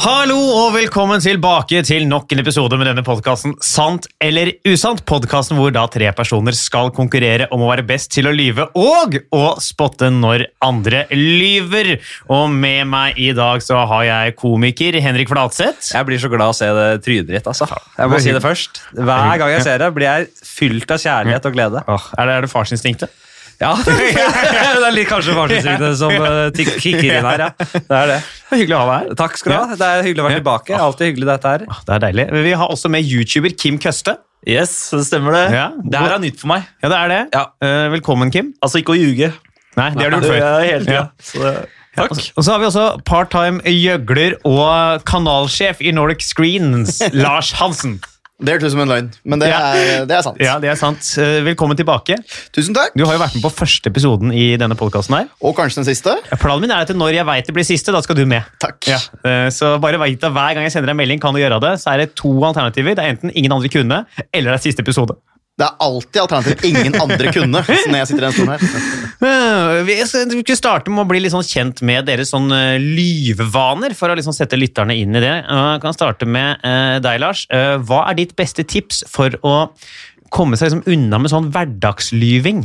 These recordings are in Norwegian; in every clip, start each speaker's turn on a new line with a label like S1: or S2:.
S1: Hallo og velkommen tilbake til nok en episode med denne podkasten Sant eller usant. Podkasten hvor da tre personer skal konkurrere om å være best til å lyve og å spotte når andre lyver. Og med meg i dag så har jeg komiker Henrik Flatseth.
S2: Jeg blir så glad å se det trynet ditt. altså. Jeg må si det først. Hver gang jeg ser det, blir jeg fylt av kjærlighet og glede.
S1: Åh, Er det, er det farsinstinktet?
S2: Ja, Det er litt kanskje farsinstinktet som eh, tik- kicker inn her. ja. Det er det.
S1: Det er Hyggelig å ha deg her.
S2: Takk skal du ha. Det er hyggelig å være tilbake. Alltid hyggelig, dette her.
S1: Det er deilig. Vi har også med youtuber Kim Køste.
S3: Yes, det stemmer det.
S1: Ja.
S3: Det her er nytt for meg.
S1: Ja, det er det.
S3: Ja.
S1: Eh, Velkommen, Kim.
S3: Altså ikke å ljuge.
S1: Nei, det har du gjort
S3: Det
S1: før.
S3: gjør jeg hele tiden.
S1: Ja.
S3: Så det- Takk.
S1: Og så har vi også part-time gjøgler og kanalsjef i Nordic Screens, Lars Hansen.
S4: Det hørtes ut som en løgn, men det,
S1: Ja.
S4: er, det er sant.
S1: Ja, det er sant. Eh, Velkommen tilbake.
S4: Tusen takk,
S1: Du har jo vært med på første episoden i denne podkasten her.
S4: og kanskje den siste.
S1: Planen min er at når jeg veit det blir siste, da skal du med.
S4: Takk.
S1: Ja, eh, så bare veit at hver gang jeg sender deg en melding, kan du gjøre det. Så er det to alternativer. Det er enten ingen andre kunne, eller det er siste episode.
S4: Det er alltid alternativ ingen andre kunne. så når jeg sitter i den stolen her.
S1: Eh, Vi skal vi skal starte med å bli litt sånn kjent med deres sånn eh, lyvevaner, for å liksom sette lytterne inn i det. Eh, Jeg kan starte med eh, deg, Lars. Eh, Hva er ditt beste tips for å komme seg liksom unna med sånn hverdagslyving?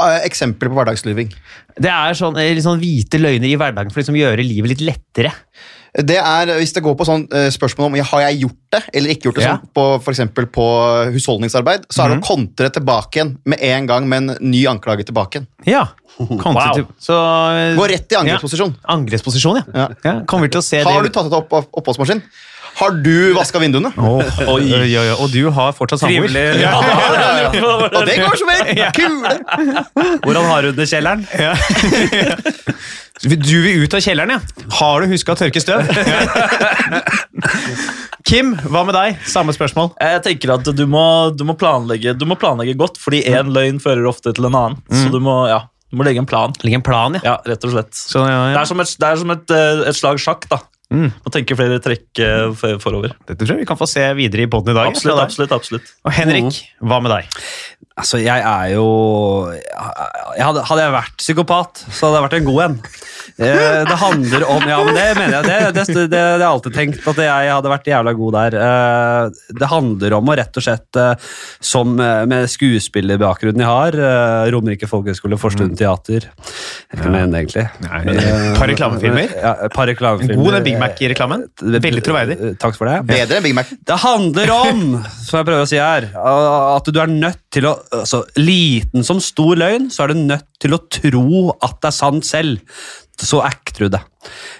S4: Eh, Eksempel på hverdagslyving.
S1: Det er sånn, eh, litt sånn hvite løgner i hverdagen for å liksom gjøre livet litt lettere.
S4: Det er, Hvis det går på sånn eh, spørsmål om ja, har jeg gjort det eller ikke, gjort det
S1: Ja.
S4: sånn, på, for eksempel på husholdningsarbeid, så er det å kontre tilbake igjen med en gang med en ny anklage tilbake igjen.
S1: Ja. Wow. Så, eh,
S4: Gå rett i angrepsposisjon.
S1: Ja. Angrepsposisjon, ja.
S4: Ja.
S1: ja. Kommer vi til å se
S4: Har du
S1: det
S4: tatt ut opp, opp, oppvaskmaskin? Har du vaska vinduene?
S1: Åh, oi, oi, oi. Og du har fortsatt samboer?
S2: Trivelig. Ja, da.
S4: Og det går som en kule!
S2: Hvordan har hun det i kjelleren?
S1: Du vil ut av kjelleren, ja. Har du huska å tørke støv? Kim, hva med deg? Samme spørsmål.
S3: Eh, Jeg tenker at du må, du, må planlegge, du må planlegge godt, fordi
S2: Mm.
S3: én løgn fører ofte til en annen. Så du må, ja, du må legge en plan.
S1: Ligger en plan,
S3: Ja, rett og slett.
S1: Så, ja,
S3: Det
S1: ja.
S3: er sånn- som et, det er som et, eh, et slag sjakk. da.
S2: Mm.
S3: Må tenke flere trekk eh, for- forover.
S1: Dette tror jeg vi kan få se videre i poden i dag.
S3: Absolutt, absolutt, Mm. absolutt.
S1: Og Henrik, hva med deg?
S2: Altså, jeg er jo jeg hadde, hadde jeg vært psykopat, så hadde jeg vært en god en. Eh, Det handler om Ja, men det mener jeg. Det, det, det, det har jeg alltid tenkt, at jeg hadde vært jævla god der. Eh, Det handler om å rett og slett, eh, som eh, med skuespillerbakgrunnen jeg har eh, Romerike folkehøgskole,
S1: Mm.
S2: Forstuen teater. Jeg kan mene det, egentlig.
S1: Et Par reklamefilmer.
S2: Ja, et par reklamefilmer. Eh,
S1: God den Big Mac-reklamen. Veldig troverdig.
S2: Takk for det.
S4: Bedre enn Big Mac.
S2: Det handler om, som jeg prøver å si her, at du er nødt til å altså, Liten som stor løgn, så er du nødt til å tro at det er sant selv. Så acter du det.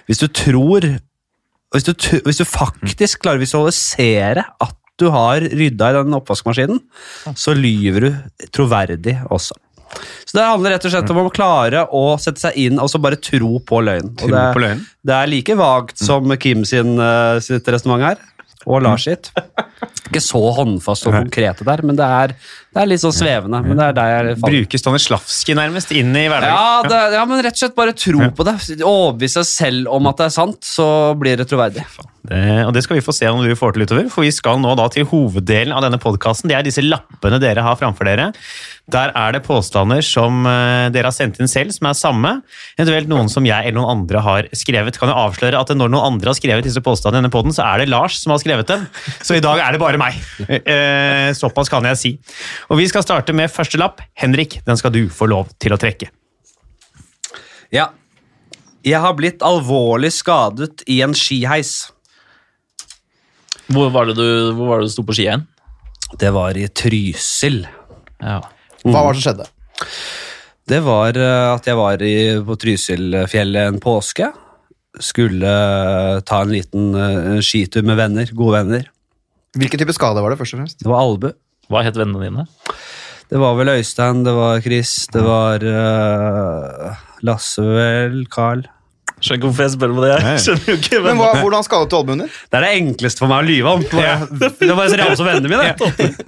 S2: Hvis du tror Hvis du, tr- hvis du faktisk klarer å visualisere at du har rydda i den oppvaskmaskinen, så lyver du troverdig også. Så det handler rett og slett om å klare å sette seg inn og så bare tro på løgnen. Og
S1: Tro
S2: det-
S1: på løgnen.
S2: det er like vagt som Kim sin, eh, sitt resonnement her. Og Lars sitt. Ikke så håndfast og konkrete der, men det er, det er litt sånn svevende. Men det er der jeg faller.
S1: Bruke Stanislavskij nærmest inn i hverdagen.
S2: Ja, det, ja, men rett og slett bare tro på det. Overbevise deg selv om at det er sant, så blir det troverdig.
S1: Det, Eh, og det skal vi få se om du får til utover, for vi skal nå da til hoveddelen av denne podkasten. Det er disse lappene dere har framfor dere. Der er det påstander som eh, dere har sendt inn selv, som er samme. Eventuelt noen som jeg eller noen andre har skrevet. Kan jo avsløre at når noen andre har skrevet disse påstandene i denne podden, så er det Lars som har skrevet dem. Så i dag er det bare meg. Eh, såpass kan jeg si. Og vi skal starte med første lapp. Henrik, den skal du få lov til å trekke.
S2: Ja. Jeg har blitt alvorlig skadet i en skiheis.
S3: Hvor var det du, hvor var det du sto på ski igjen?
S2: Det var i Trysil.
S3: Ja.
S4: Hva var det som skjedde?
S2: Det var eh, at jeg var i, på Trysilfjellet en påske. Skulle eh, ta en liten eh, skitur med venner, gode venner.
S4: Hvilken type skade var det? først og fremst?
S2: Det var Albu.
S3: Hva het vennene dine?
S2: Det var vel Øystein, det var Chris, det var eh, Lasse vel, Carl.
S3: Skjønner ikke hvorfor jeg spør om det. Jeg skjønner jo ikke
S4: Men
S3: hvem
S4: hva, Hvordan skadet du albuen din?
S2: Det er det enkleste for meg å lyve om. Det var bare så rause som vennene mine.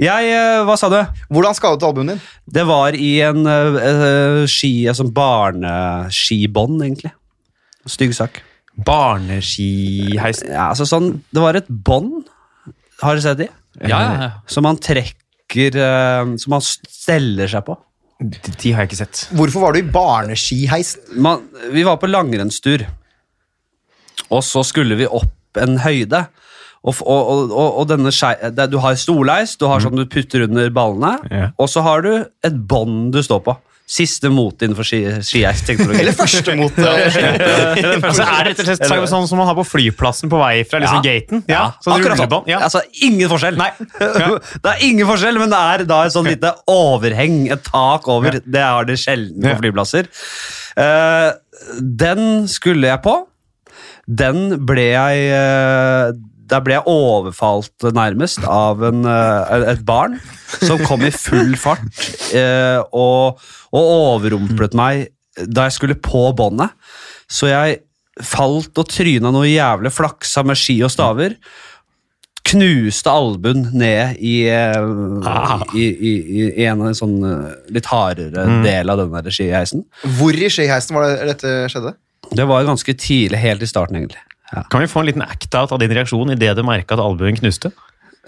S2: Jeg, eh, hva sa du?
S4: Hvordan skadet du albuen din?
S2: Det var i en eh, eh, ski, altså barneskibånd, egentlig. Stygg sak.
S1: Barneskiheisen.
S2: Ja, altså sånn, det var et bånd, har du sett de?
S3: Ja, ja, ja.
S2: Som man trekker eh, Som man steller seg på.
S1: De, de har jeg ikke sett.
S4: Hvorfor var du i barneskiheisen?
S2: Man, vi var på langrennstur, og så skulle vi opp en høyde. Og, f- og, og, og, og denne skei, det, Du har storleis, du har sånn du putter under ballene,
S1: Ja.
S2: og så har du et bånd du står på. Siste mote innenfor ski, skiheisteknologi.
S4: Eller førstemot? eh,
S1: Altså, er det rett og slett sånn- sånn som man har på flyplassen på vei fra liksom, gaten? Ja, sånn
S2: akkurat
S1: rullebånd,
S2: sånn.
S1: Ja.
S2: Altså, ingen forskjell.
S1: Ja.
S2: det er ingen forskjell, men det er da et sånn lite overheng, et tak over. Det har det sjelden på
S1: Ja.
S2: flyplasser. Eh, den skulle jeg på. Den ble jeg eh, Der ble jeg overfalt nærmest av en, eh, et barn som kom i full fart eh, og, og overrumplet meg da jeg skulle på båndet. Så jeg falt og tryna noe jævlig flaksa med ski og staver. Knuste albuen ned i, eh, i, i, i, i en av en sånn eh, litt hardere del av den der skiheisen.
S4: Hvor i skiheisen var det dette skjedde?
S2: Det var ganske tidlig, helt i starten, egentlig. Ja.
S1: Kan vi få en liten act-out av din reaksjon idet du merka at albuen knuste?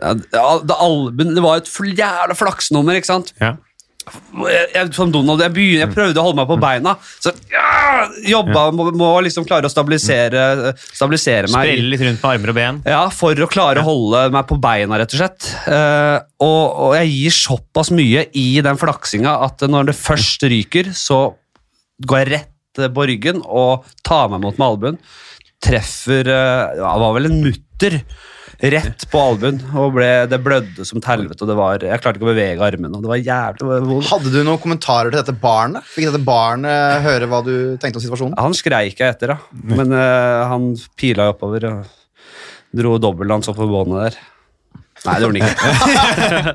S2: Ja, det- al- det, albuen, det var et fl- jævla flaksnummer, ikke sant?
S1: Ja.
S2: Jeg, jeg, som Donald, jeg, begyn- jeg prøvde å holde meg på beina. Så ja, jobba, må, må liksom klare å stabilisere, stabilisere meg.
S1: Sprelle litt rundt med armer og ben.
S2: Ja, for å klare å holde meg på beina, rett og slett. Eh, og, og jeg gir såpass mye i den flaksinga at når det først ryker, så går jeg rett eh, på ryggen og tar meg mot med albuen. Treffer eh, ja, Det var vel en mutter rett på albuen, og ble, det blødde som et helvete. Og det var, jeg klarte ikke å bevege armene, og det var jævlig vondt.
S4: Hadde du noen kommentarer til dette barnet? Fikk dette barnet høre hva du tenkte om situasjonen?
S2: Han skreik jeg etter, da. Men eh, han pila jo oppover og dro dobbeltlands opp på båndet der. Nei, det gjorde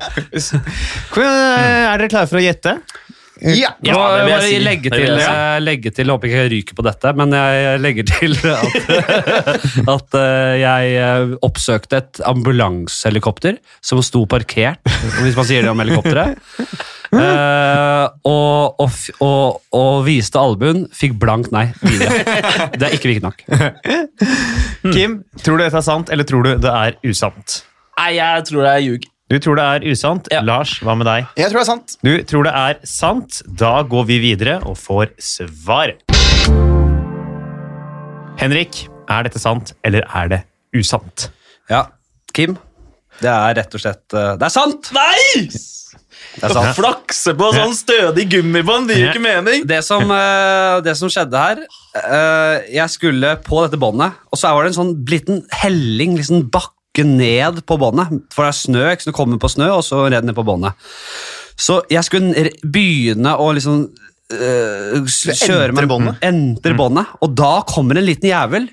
S2: han ikke.
S1: Hvor- Eh, Er dere klare for å gjette?
S4: Ja!
S2: Ja,
S3: Ja, det vil jeg
S2: bare
S3: si.
S2: legge
S3: Det
S2: til,
S3: vil jeg si.
S2: jeg legger til, jeg håper ikke jeg ryker på dette, men jeg legger til at, at eh, jeg eh, oppsøkte et ambulansehelikopter som sto parkert, hvis man sier det om helikopteret, eh, og, og, f- og, og viste albuen, fikk blankt nei videre. Det er ikke viktig nok.
S1: Kim, tror du dette er sant, eller tror du det er usant?
S3: Nei, jeg tror jeg ljug.
S1: Du tror det er usant.
S3: Ja.
S1: Lars, hva med deg?
S4: Jeg tror det er sant.
S1: Du tror det er sant. Da går vi videre og får svar. Henrik, er dette sant, eller er det usant?
S2: Ja, Kim, det er rett og slett, eh, det er sant!
S3: Nei!
S2: Det er sant.
S3: Flakse Altså, på sånn stødig gummibånd, det gir ikke mening.
S2: Det som, eh, det som skjedde her eh, Jeg skulle på dette båndet, og så var det en sånn liten helling, liksom bakke ned på båndet. For det er snø, ikke sant? Du kommer på snø, og så renner det ned på båndet. Så jeg skulle re- begynne å liksom eh, s- kjøre
S4: entre båndet?
S2: Entre båndet. Og da kommer en liten jævel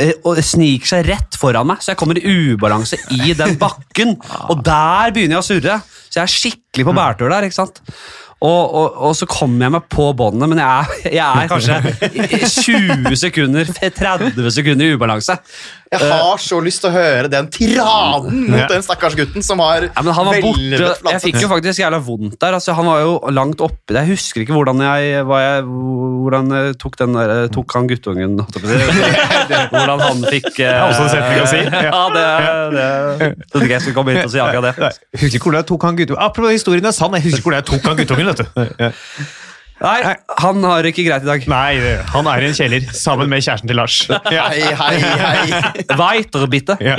S2: eh, og sniker seg rett foran meg, så jeg kommer i ubalanse i den bakken. Og der begynner jeg å surre. Så jeg er skikkelig på bærtur der. ikke sant? Og, og, og så kommer jeg meg på båndet, men jeg er, jeg er kanskje 20 sekunder, 30 sekunder i ubalanse.
S4: Jeg
S2: Eh.
S4: har så lyst til å høre den tiraden mot
S1: Ja.
S4: den stakkars gutten som har
S2: Ja, men han var borte.
S4: velvet
S2: Jeg fikk
S4: flatset.
S2: jo faktisk jævla vondt der. Altså, han var jo langt oppi det. Jeg husker ikke hvordan jeg, hva jeg, hvordan jeg tok, den der, eh, tok han guttungen holdt jeg på å si. Hvordan han fikk eh, Det
S1: er også en setning å si.
S2: Ja, det, det trodde ikke jeg skulle komme hit og si akkurat det.
S1: Husker ikke hvor jeg tok han guttungen. Apropos historien er sann, jeg husker hvor jeg tok han guttungen. vet du.
S2: Nei, han har det ikke greit i dag.
S1: Nei, det- han er i en kjeller sammen med kjæresten til Lars. Ja.
S4: Hei, hei, hei.
S2: Weiterbitte.
S1: Ja.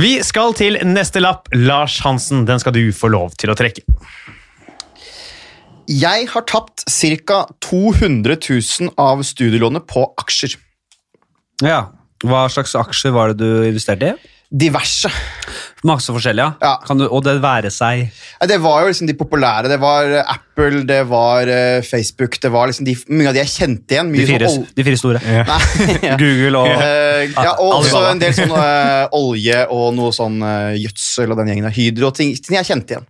S1: Vi skal til neste lapp. Lars Hansen, den skal du få lov til å trekke.
S4: Jeg har tapt ca. 200 000 av studielånet på aksjer.
S2: Ja. Hva slags aksjer var det du investerte i?
S4: Diverse.
S2: Masse forskjellige,
S4: Ja.
S2: Kan du, og det være seg
S4: Nei, Det var jo liksom de populære. Det var eh, Apple, det var eh, Facebook, det var liksom de, mye av de jeg kjente igjen.
S2: de
S4: Mye
S2: fire,
S4: sånn ol-
S2: de fire store.
S4: Nei, ja.
S2: Google og
S4: Eh, ja, og også
S2: Alibaba.
S4: en del sånn eh, olje og noe sånn eh, gjødsel og den gjengen der. Hydro og ting, ting jeg kjente igjen.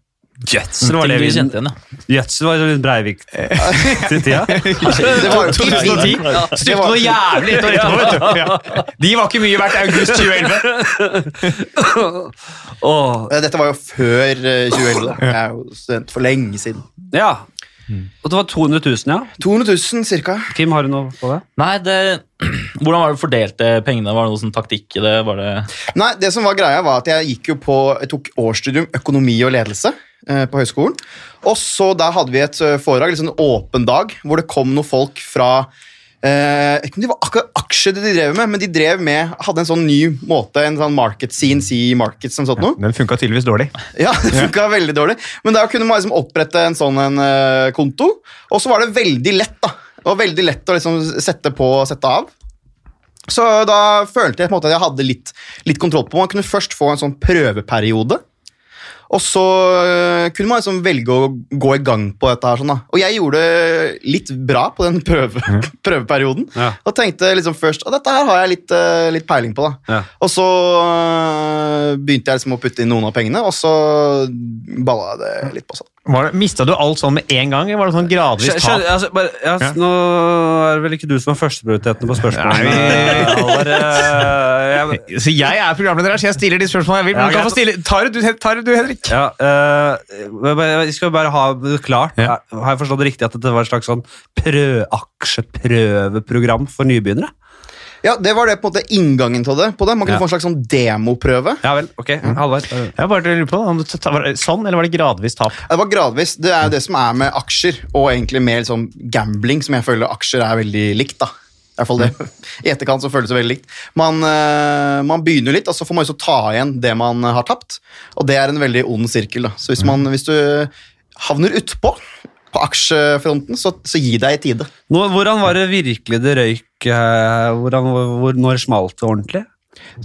S2: Gjødsel var
S3: Ting
S2: det
S3: du
S2: vi
S3: kjente igjen, ja.
S2: Gjødsel var litt Breivik til tida.
S4: Det var jo
S1: Det
S4: ikke
S1: var-
S4: Det var-
S1: jævlig et år etterpå, vet du. Ja. De var ikke mye verdt august 2011.
S2: Åh,
S4: Eh, Dette var jo før eh, 2011. da. Jeg er jo student for lenge siden.
S2: ja. Og det var 200 000, ja.
S4: 200 000 cirka.
S2: Kim, har du noe på det?
S3: Nei, det, Hvordan var det fordelte pengene? Var det noe sånn taktikk i det? Var det
S4: Nei, det som var greia var at jeg gikk jo på, jeg tok årsstudium økonomi og ledelse eh, på høyskolen. Og så der hadde vi et eh, foredrag, liksom en åpen dag, hvor det kom noen folk fra eh, jeg vet ikke om det var akkurat aksjer de drev med, men de drev med, hadde en sånn ny måte, en sånn market CNC markets som sånt noe.
S1: Den funka tydeligvis dårlig.
S4: Ja, det funka veldig dårlig. Men der kunne man liksom opprette en sånn en, eh, konto, og så var det veldig lett, da. Det var veldig lett å liksom sette på og sette av. Så da følte jeg på en måte at jeg hadde litt, litt kontroll på Man kunne først få en sånn prøveperiode. Og så eh, kunne man liksom velge å gå i gang på dette. her sånn da. Og jeg gjorde litt bra på den prøve, prøveperioden.
S2: Ja.
S4: Og tenkte liksom først at dette her har jeg litt, eh, litt peiling på. da.
S2: Ja.
S4: Og så øh, begynte jeg liksom å putte inn noen av pengene, og så balla det litt på sånn. seg.
S1: Mista du alt sånn med en gang, eller var det sånn gradvis
S2: Skjø- skjø-
S1: tap?
S2: altså, bare, ja,
S1: Ja.
S2: Nå er det vel ikke du som har førsteprioriteten på spørsmålene. eh,
S1: Nei, vi-
S2: Halvor, eh, jeg-
S1: Så jeg er programleder her, så jeg stiller de spørsmålene jeg vil.
S2: Ja,
S1: Men du kan
S2: greit.
S1: få stille. Tar du, tar du, Henrik?
S2: ja, eh, jeg bare- jeg skal bare ha det klart.
S1: Ja.
S2: Er- Har jeg forstått det riktig at dette var et slags sånn prø aksjeprøveprogram for nybegynnere?
S4: Ja, Det var det på en måte inngangen til det. på det. Man kunne
S2: Ja.
S4: få en slags sånn demoprøve.
S2: Ja vel, ok. Halvor. eh,
S1: Jeg bare lurer på om du t- var det Sånn, eller var det gradvis tap?
S4: Det var gradvis. Det er jo det som er med aksjer, og egentlig mer liksom gambling, som jeg føler aksjer er veldig likt. da. I hvert fall det. I etterkant så føles det veldig likt. Man, øh, man begynner litt, og så får man også ta igjen det man har tapt. Og det er en veldig ond sirkel. da. Så
S2: Mm.
S4: hvis, man, hvis du havner utpå på aksjefronten, så, så gi deg i tide.
S2: Nå, hvordan var det virkelig det røyk? eh, Hvordan, hvor, når smalt det ordentlig?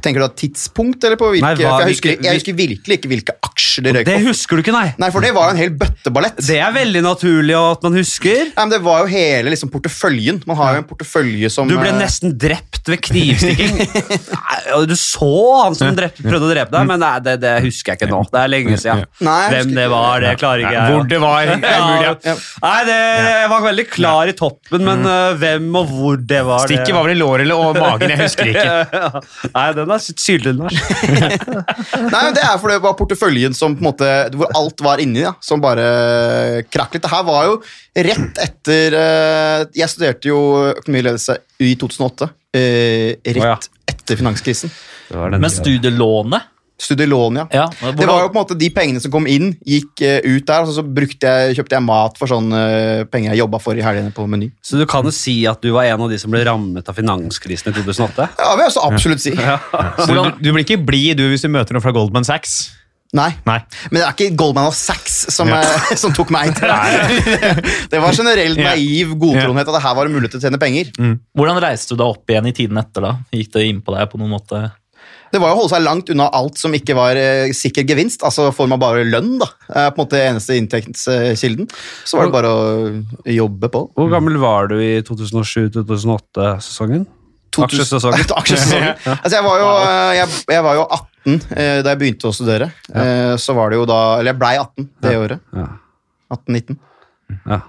S4: Tenker du da tidspunkt, eller på hvilke?
S2: Nei, hva-
S4: for jeg, husker,
S2: hvilke-
S4: jeg husker virkelig ikke hvilke aksjer det røyk
S2: Det
S4: på.
S2: husker du ikke, nei.
S4: Nei, for det var jo en hel bøtteballett.
S2: Det er veldig naturlig at man husker.
S4: Nei, men det var jo hele liksom, porteføljen. Man har jo en portefølje som
S2: Du ble
S4: eh,
S2: nesten drept ved knivstikking. Nei, og Du så han som drep, prøvde å drepe deg, men nei, det, det husker jeg ikke nå. Det er lenge siden.
S4: Nei, jeg husker
S2: Hvem
S4: ikke.
S2: det var, det klarer ikke jeg.
S1: Hvor det var? det er mulig, ja. Mm.
S2: Ja. Nei, det, jeg var veldig klar i toppen, men øh, hvem og hvor det var det-
S1: Stikket var vel i låret eller og magen, jeg husker ikke.
S2: Nei, den er syltynn, Lars.
S4: Nei, men det er fordi det var porteføljen som på en måte, hvor alt var inni, ja, som bare krakk litt. Det her var jo rett etter eh, Jeg studerte jo økonomiledelse i 2008. eh, rett
S2: Å, ja.
S4: etter finanskrisen.
S3: Men studielånet?
S4: Studielån, ja.
S3: Ja,
S4: Det var jo på en måte De pengene som kom inn, gikk eh, ut der. Og så brukte jeg, kjøpte jeg mat for sånne eh, penger jeg jobba for i helgene på Meny.
S2: Så du kan jo si at du var en av de som ble rammet av finanskrisen i 2008?
S4: Ja, vil jeg så absolutt si.
S1: Så du, du blir ikke blid du hvis du møter noen fra Goldman Sachs?
S4: Nei.
S1: Nei.
S4: Men det er ikke Goldman of Sachs som, eh, som tok meg inn. det var generelt
S1: Ja.
S4: naiv godtroenhet at det her var det mulighet til å tjene penger.
S3: Hvordan reiste du deg opp igjen i tiden etter da? Gikk det inn på deg på noen måte?
S4: Det var jo å holde seg langt unna alt som ikke var eh, sikker gevinst. Altså får man bare lønn, da. Eh, på en måte eneste inntektskilden. Så var det bare å jobbe på.
S2: Hvor gammel var du i 2007-2008-sesongen? Aksjesesongen.
S4: Aksjesesongen. Altså, jeg var jo, eh, jeg, jeg var jo 18 eh, da jeg begynte å studere. Eh, Så var det jo da Eller jeg blei 18 det året.
S2: Ja.
S4: 18-19.
S2: Ja.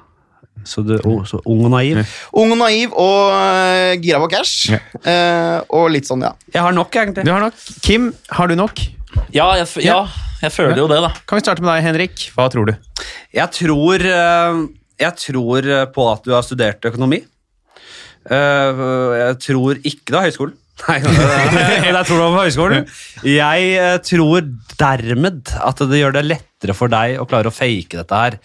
S2: Så, du, å, så ung og naiv.
S4: Ung og naiv og eh, gira på cash. Eh, Og litt sånn, ja.
S2: Jeg har nok, egentlig.
S1: Du har nok. Kim, har du nok?
S3: Ja, jeg, f- ja, jeg føler jo det, da.
S1: Kan vi starte med deg, Henrik? Hva tror du?
S2: Jeg tror, eh, jeg tror eh, på at du har studert økonomi. Eh, Jeg tror ikke det er høyskolen. Nei, det er- jeg tror det var høyskolen. Jeg eh, tror dermed at det gjør det lettere for deg å klare å fake dette her.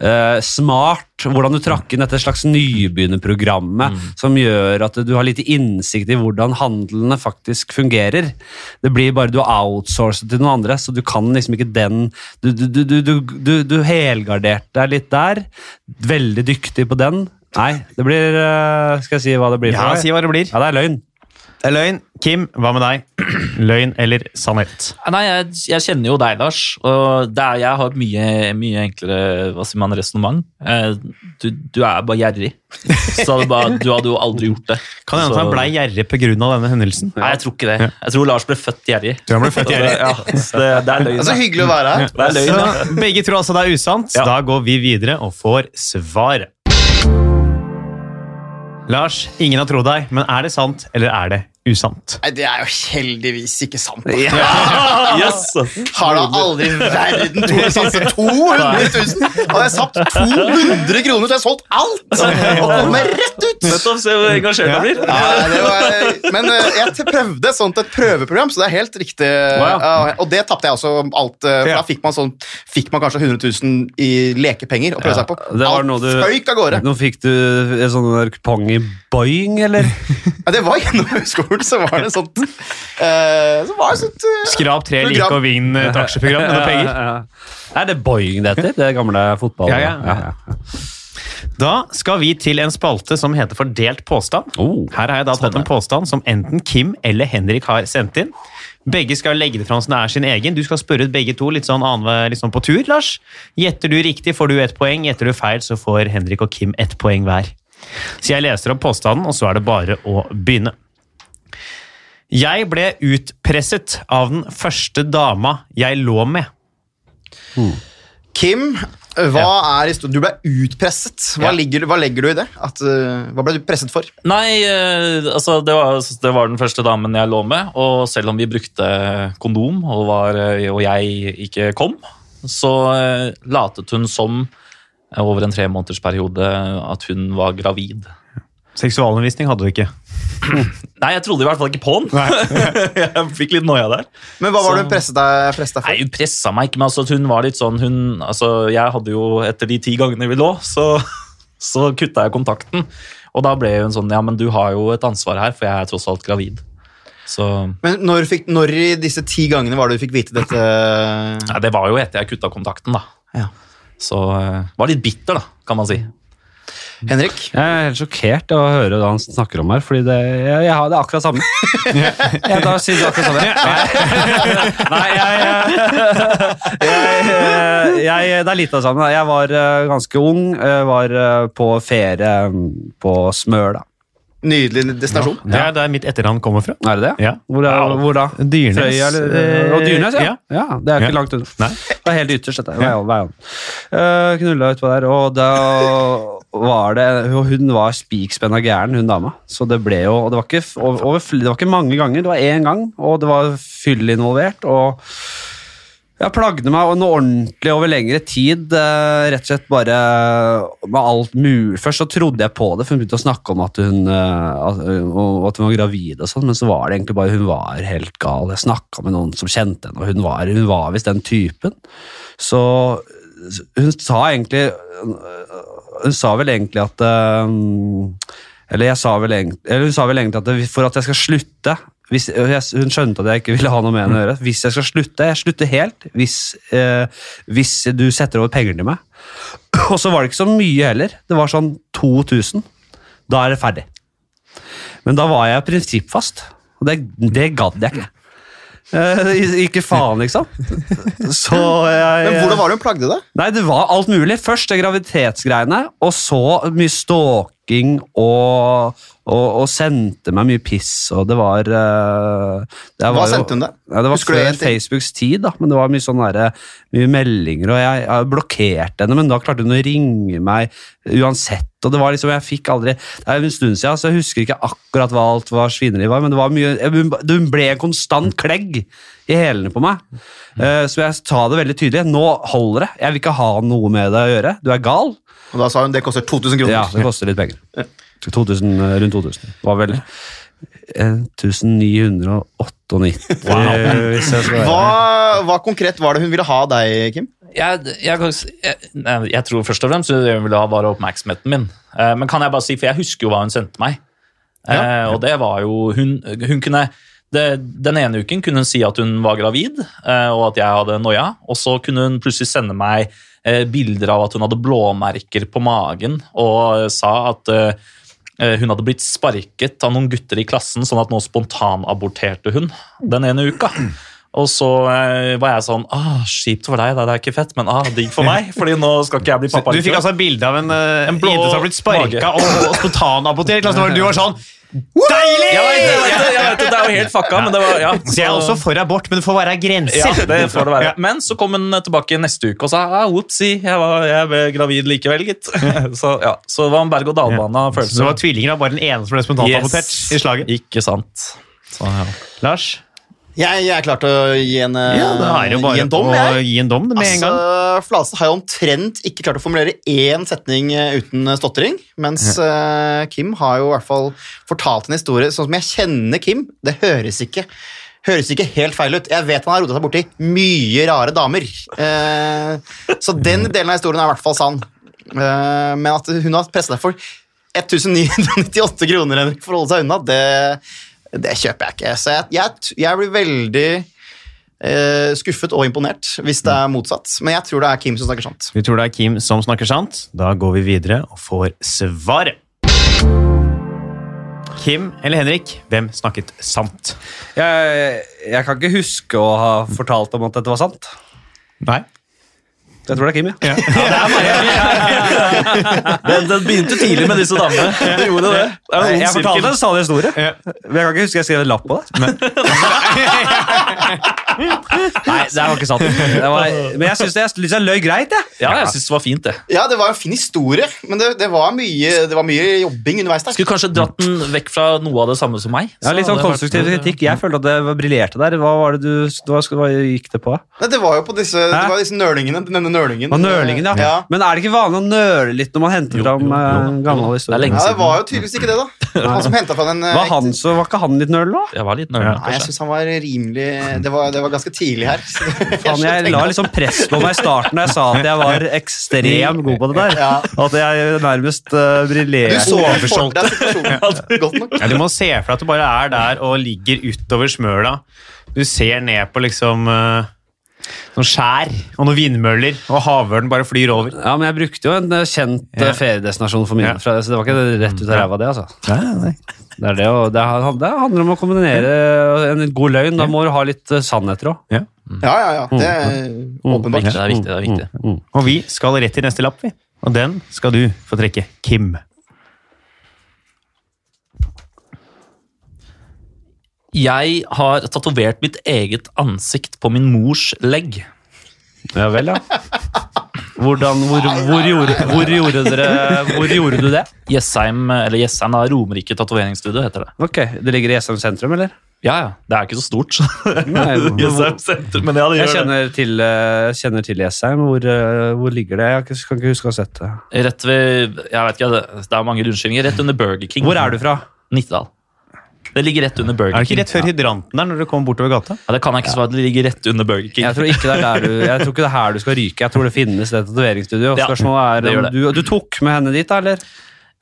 S2: Eh, Smart, hvordan du trakk inn dette slags nybegynnerprogrammet som gjør at du har litt innsikt i hvordan handlene faktisk fungerer. Det blir bare du har outsourcet til noen andre, så du kan liksom ikke den Du, du, du, du, du, du, du helgarderte deg litt der. Veldig dyktig på den. Nei, det blir eh, Skal jeg si hva det blir for
S1: Ja,
S2: deg?
S1: Si hva det blir.
S2: Ja, det er løgn.
S1: Det er løgn. Kim, hva med deg? Løgn eller sannhet?
S3: Nei, jeg, jeg kjenner jo deg, Lars. Og det er, jeg har et mye, mye enklere hva sier man, resonnement. Eh, Du, du er bare gjerrig. Så det bare, du hadde jo aldri gjort det.
S1: Kan det hende at
S3: Så-
S1: han blei gjerrig pga. denne hendelsen?
S3: Nei, jeg tror ikke det. Jeg tror Lars ble født gjerrig.
S1: Du ble født gjerrig.
S3: Ja, så det, det er løgn.
S4: Det er
S3: da.
S4: så Altså, hyggelig å være her.
S3: Det er løgn, da.
S1: Så begge tror altså det er usant.
S3: Ja.
S1: Da går vi videre og får svaret. Lars, ingen har trodd deg, men er det sant, eller er det usant.
S4: Nei, det er jo heldigvis ikke sant. da.
S3: Yes!
S4: Har da aldri i verden to satse 200 000! Hadde jeg satt 200 kroner, så hadde jeg solgt alt! Og kommer rett ut!
S3: Nettopp, se hvor engasjert han blir.
S4: Nei, det var, men eh, jeg t- prøvde et sånt et prøveprogram, så det er helt riktig. Ja, Og det tapte jeg også alt. eh, For
S1: Ja.
S4: da fikk man, sånn, fikk man kanskje 100 000 i lekepenger å prøve seg på.
S2: det var noe du-
S4: Føyk av gårde.
S2: Nå fikk du en sånn der kupong i Boeing, eller?
S4: Ja, det var gjennom høyskolen, så var det et sånt eh, Så var det et sånt eh,
S1: Skrap tre
S4: Program.
S1: like og vinn et aksjeprogram med noen penger.
S2: Er det Boeing det heter? Det gamle fotballet?
S1: Ja, ja. Da skal vi til en spalte som heter Fordelt påstand.
S2: Oh.
S1: Her har jeg da tatt en påstand som enten Kim eller Henrik har sendt inn. Begge skal legge det fram som det er sin egen. Du skal spørre ut begge to litt sånn, annenhver- litt sånn på tur, Lars. Gjetter du riktig, får du ett poeng. Gjetter du feil, så får Henrik og Kim ett poeng hver. Så jeg leser opp påstanden, og så er det bare å begynne. Jeg ble utpresset av den første dama jeg lå med.
S4: Kim, hva er historien? Du ble utpresset. Hva, ligger, hva legger du i det? At, eh, hva ble du presset for?
S3: Nei, eh, altså det var, det var den første damen jeg lå med, og selv om vi brukte kondom, og, var, eh, og jeg ikke kom, så eh, latet hun som eh, over en tre måneders periode at hun var gravid.
S1: Seksualundervisning hadde du ikke.
S3: Nei, jeg trodde i hvert fall ikke på den. jeg fikk litt noia der.
S4: Men hva var
S3: Så-
S4: det hun presset deg, presset deg
S3: Nei,
S4: for?
S3: hun pressa meg ikke, men altså, hun var litt sånn hun, altså, Jeg hadde jo etter de ti gangene vi lå, så, så kutta jeg kontakten. Og da ble hun sånn Ja, men du har jo et ansvar her, for jeg er tross alt gravid. Så
S4: Men når, fikk, når i disse ti gangene var det du fikk vite dette?
S3: Nei, det var jo etter jeg kutta kontakten, da.
S4: Ja.
S3: Så eh, var litt bitter, da, kan man si.
S4: Henrik?
S2: Jeg er helt sjokkert av å høre det han snakker om her, fordi det, jeg, jeg har det akkurat samme. Jeg da sier det akkurat samme. Nei, Nei jeg, eh, jeg, eh, jeg Det er litt av det samme. Jeg var eh, ganske ung, eh, var eh, på ferie mm, på Smøla.
S4: Nydelig destinasjon.
S1: Det er der mitt etterhånd kommer fra.
S2: Er det det?
S1: Ja.
S2: Hvor, er, hvor da?
S1: Dyrnes.
S2: Fløya eller
S1: Eh,
S2: og Dyrnes, ja.
S1: ja.
S2: ja. det er ikke
S1: Ja.
S2: langt unna.
S1: Nei.
S2: Det er helt ytterst, dette. Veien, veien. Uh, knulla utpå der, og da var det og Hun var spikspenna gæren, hun dama. Så det ble jo og det var, ikke, f- over, over, fl- det var ikke mange ganger, det var én gang, og det var fyll involvert. og jeg plagde meg og noe ordentlig over lengre tid. eh, rett og slett bare med alt mulig. Først så trodde jeg på det, for hun begynte å snakke om at hun, eh, at, og at hun var gravid og sånn, men så var det egentlig bare hun var helt gal. Jeg snakka med noen som kjente henne, og hun var, hun var visst den typen. Så så hun sa egentlig Hun sa vel egentlig at eh, Eller jeg sa vel egentlig, eller hun sa vel egentlig at det- for at jeg skal slutte hvis, jeg, Hun skjønte at jeg ikke ville ha noe med henne å gjøre. Hvis jeg skal slutte, jeg slutter helt hvis, eh, hvis du setter over penger til meg. Og så var det ikke så mye heller. Det var sånn 2000. Da er det ferdig. Men da var jeg prinsippfast, og det, det gadd jeg ikke. Eh, ikke faen, liksom. Så jeg
S1: Eh,
S4: Men hvordan var det hun plagde deg?
S2: Nei, det var alt mulig. Først det graviditetsgreiene, og så mye stalking og, og, og sendte meg mye piss, og det var eh, det
S4: Hva sendte hun deg?
S2: Ja, det var
S4: Husker du en
S2: før
S4: ting?
S2: Facebooks tid, da, men det var mye, sånn derre- mye meldinger, og jeg, jeg blokkerte henne, men da klarte hun å ringe meg uansett. Og det var liksom, jeg fikk aldri, det er en stund siden, så jeg husker ikke akkurat hva alt hva svineri var, men det var mye, hun- hun ble en konstant klegg i helene på meg. Eh, Så jeg sa det veldig tydelig, nå holder det, jeg vil ikke ha noe med deg å gjøre, du er gal.
S4: Og da sa hun det koster 2000 kroner.
S2: Ja, det koster litt penger. 2000, eh, rundt 2000. Det var vel 1998, Eh, hvis jeg skal være
S4: Hva, hva konkret var det hun ville ha av deg, Kim?
S3: Jeg, jeg, kan s- jeg, nei, jeg tror først og fremst det hun ville ha, var oppmerksomheten min. Eh, Men kan jeg bare si, for jeg husker jo hva hun sendte meg. Eh, Og det var jo Hun, hun kunne det, Den ene uken kunne hun si at hun var gravid, eh, og at jeg hadde noia. Og så kunne hun plutselig sende meg eh, bilder av at hun hadde blåmerker på magen, og eh, sa at eh, eh, hun hadde blitt sparket av noen gutter i klassen, sånn at nå spontanaborterte hun den ene uka. Og så eh, var jeg sånn ah, Kjipt for deg, da, det er ikke fett, men ah, digg for meg. fordi nå skal ikke jeg bli pappa.
S1: Du fikk altså et bilde av en, eh,
S3: En blå
S1: jente som har blitt sparka
S3: mage.
S1: og, og spontanabortert. Altså, du var sånn Deilig!
S3: Jeg vet, det, jeg, vet, det, jeg vet det, det er jo helt fucka, men det var ja.
S1: Så jeg er også for abort, men det får være
S3: Ja,
S1: grenser.
S3: det får det være.
S1: Ja.
S3: Men så kom hun tilbake neste uke og sa ah, «Whoopsie, jeg, var, jeg ble gravid likevel, gitt. Så, ja. så det var en berg-og-dal-bane av
S1: Så det
S3: følelser.
S1: var tvillinger, det var bare den ene som ble spontanabotert
S3: Yes.
S1: i slaget.
S3: Ikke sant.
S1: Så, ja. Lars?
S4: Jeg, jeg er klar til å gi en, eh,
S1: Ja, da er det jo
S4: gi
S1: bare
S4: en dom,
S1: å
S4: jeg.
S1: gi en dom med en
S4: Altså,
S1: gang.
S4: Flase har jo omtrent ikke klart å formulere én setning eh, uten stotring, mens eh, Kim har jo i hvert fall fortalt en historie sånn som jeg kjenner Kim. Det høres ikke Høres ikke helt feil ut. Jeg vet han har rota seg borti mye rare damer. Eh, så den delen av historien er i hvert fall sann. Eh, men at hun har pressa deg for 1998 kroner Henrik, for å holde seg unna, det, det kjøper jeg ikke. Så jeg, jeg, jeg blir veldig eh, skuffet og imponert hvis det er motsatt. Men jeg tror det er Kim som snakker sant.
S1: Vi tror det er Kim som snakker sant. Da går vi videre og får svaret. Kim eller Henrik, hvem snakket sant?
S2: Jeg, jeg kan ikke huske å ha fortalt om at dette var sant.
S1: Nei.
S2: Jeg tror det er Kim, ja.
S3: Den, den begynte tidlig med disse damene. Det gjorde det. det er en
S2: Nei,
S3: ond
S2: Jeg fortalte
S3: sirkel.
S2: en sann historie. Men jeg kan ikke huske jeg skrev en lapp på det. Nei, det var ikke sant. Det var, men jeg syns jeg, synes jeg løy greit, jeg.
S3: Ja, jeg syns det var fint, det.
S4: Ja, det var en fin historie, men det, det, var, mye, det var mye jobbing underveis der.
S3: Skulle kanskje dratt den vekk fra noe av det samme som meg.
S2: Ja, litt sånn konstruktiv kritikk. Jeg følte at det var- briljerte der. Hva var det du hva, sk- hva gikk det på?
S4: Nei, det var jo på disse, det
S2: Hæ?
S4: var disse nølingene. Denne nølingen.
S2: Og nølingen, ja.
S4: ja.
S2: Men er det ikke vanlig å nøle litt når man henter fram eh, gammel historie?
S3: Det er lenge
S4: Ja, det var jo tydeligvis ikke det, da. Han som henta fra den eh,
S2: Var, han, så, var ikke han litt nøl, da?
S3: Jeg var litt nølende,
S4: Nei, jeg
S3: kanskje.
S4: syns han var rimelig Det var, det var ganske tidlig her. så jeg
S2: Faen, jeg la
S4: tenkte-
S2: liksom press på meg i starten da jeg sa at jeg var ekstremt god på det der.
S4: Ja.
S2: At jeg nærmest uh,
S4: Du
S2: briljerte.
S4: så for deg situasjonen godt nok.
S1: Ja, du må se for deg at du bare er der og ligger utover smøla. Du ser ned på liksom eh, noen skjær og noen vindmøller, og havørnen bare flyr over.
S2: Ja, men jeg brukte jo en eh, kjent eh, feriedestinasjon for mine,
S1: Ja.
S2: fra det, så det var ikke rett ut av ræva, det, altså. Det, er det, og det, han- det handler om å kombinere eh, en god løgn. Da må du ha litt eh, sannheter òg.
S1: Ja.
S4: Ja, ja, ja. Det er åpenbart.
S3: Det er viktig. det er viktig.
S1: Og vi skal rett til neste lapp, vi. Og den skal du få trekke. Kim.
S3: Jeg har tatovert mitt eget ansikt på min mors legg.
S2: Ja vel, ja. Hvordan, hvor, hvor, gjorde, hvor, gjorde dere, hvor gjorde du det?
S3: Jessheim, eller Jessheim da, Romerike tatoveringsstudio heter det.
S2: Ok, Det ligger i Jessheim sentrum, eller?
S3: Ja, ja. Det er ikke så stort. så.
S2: Nei, hvor-
S3: Jessheim senter, men ja, det
S2: Jeg
S3: gjør det.
S2: kjenner til, eh, kjenner til Jessheim. Hvor, eh, hvor ligger det? Jeg kan ikke- kan ikke huske å ha sett det.
S3: Rett ved, jeg vet ikke, det- det er mange rundskrivinger. Rett under Burger King.
S2: Hvor er du fra?
S3: Nittedal. Det ligger rett under Burger
S1: Er det
S3: King.
S1: ikke rett før hydranten der, når du kommer bortover gata?
S3: Ja, det kan jeg ikke svare. Det ligger rett under Burger King.
S2: Jeg tror ikke det er, der du, jeg tror ikke det er her du skal ryke. Jeg tror det finnes det tatoveringsstudio.
S3: Ja,
S2: Spørsmålet
S3: det
S2: er
S3: gjør
S2: om
S3: det.
S2: du, du tok med henne dit, da, eller?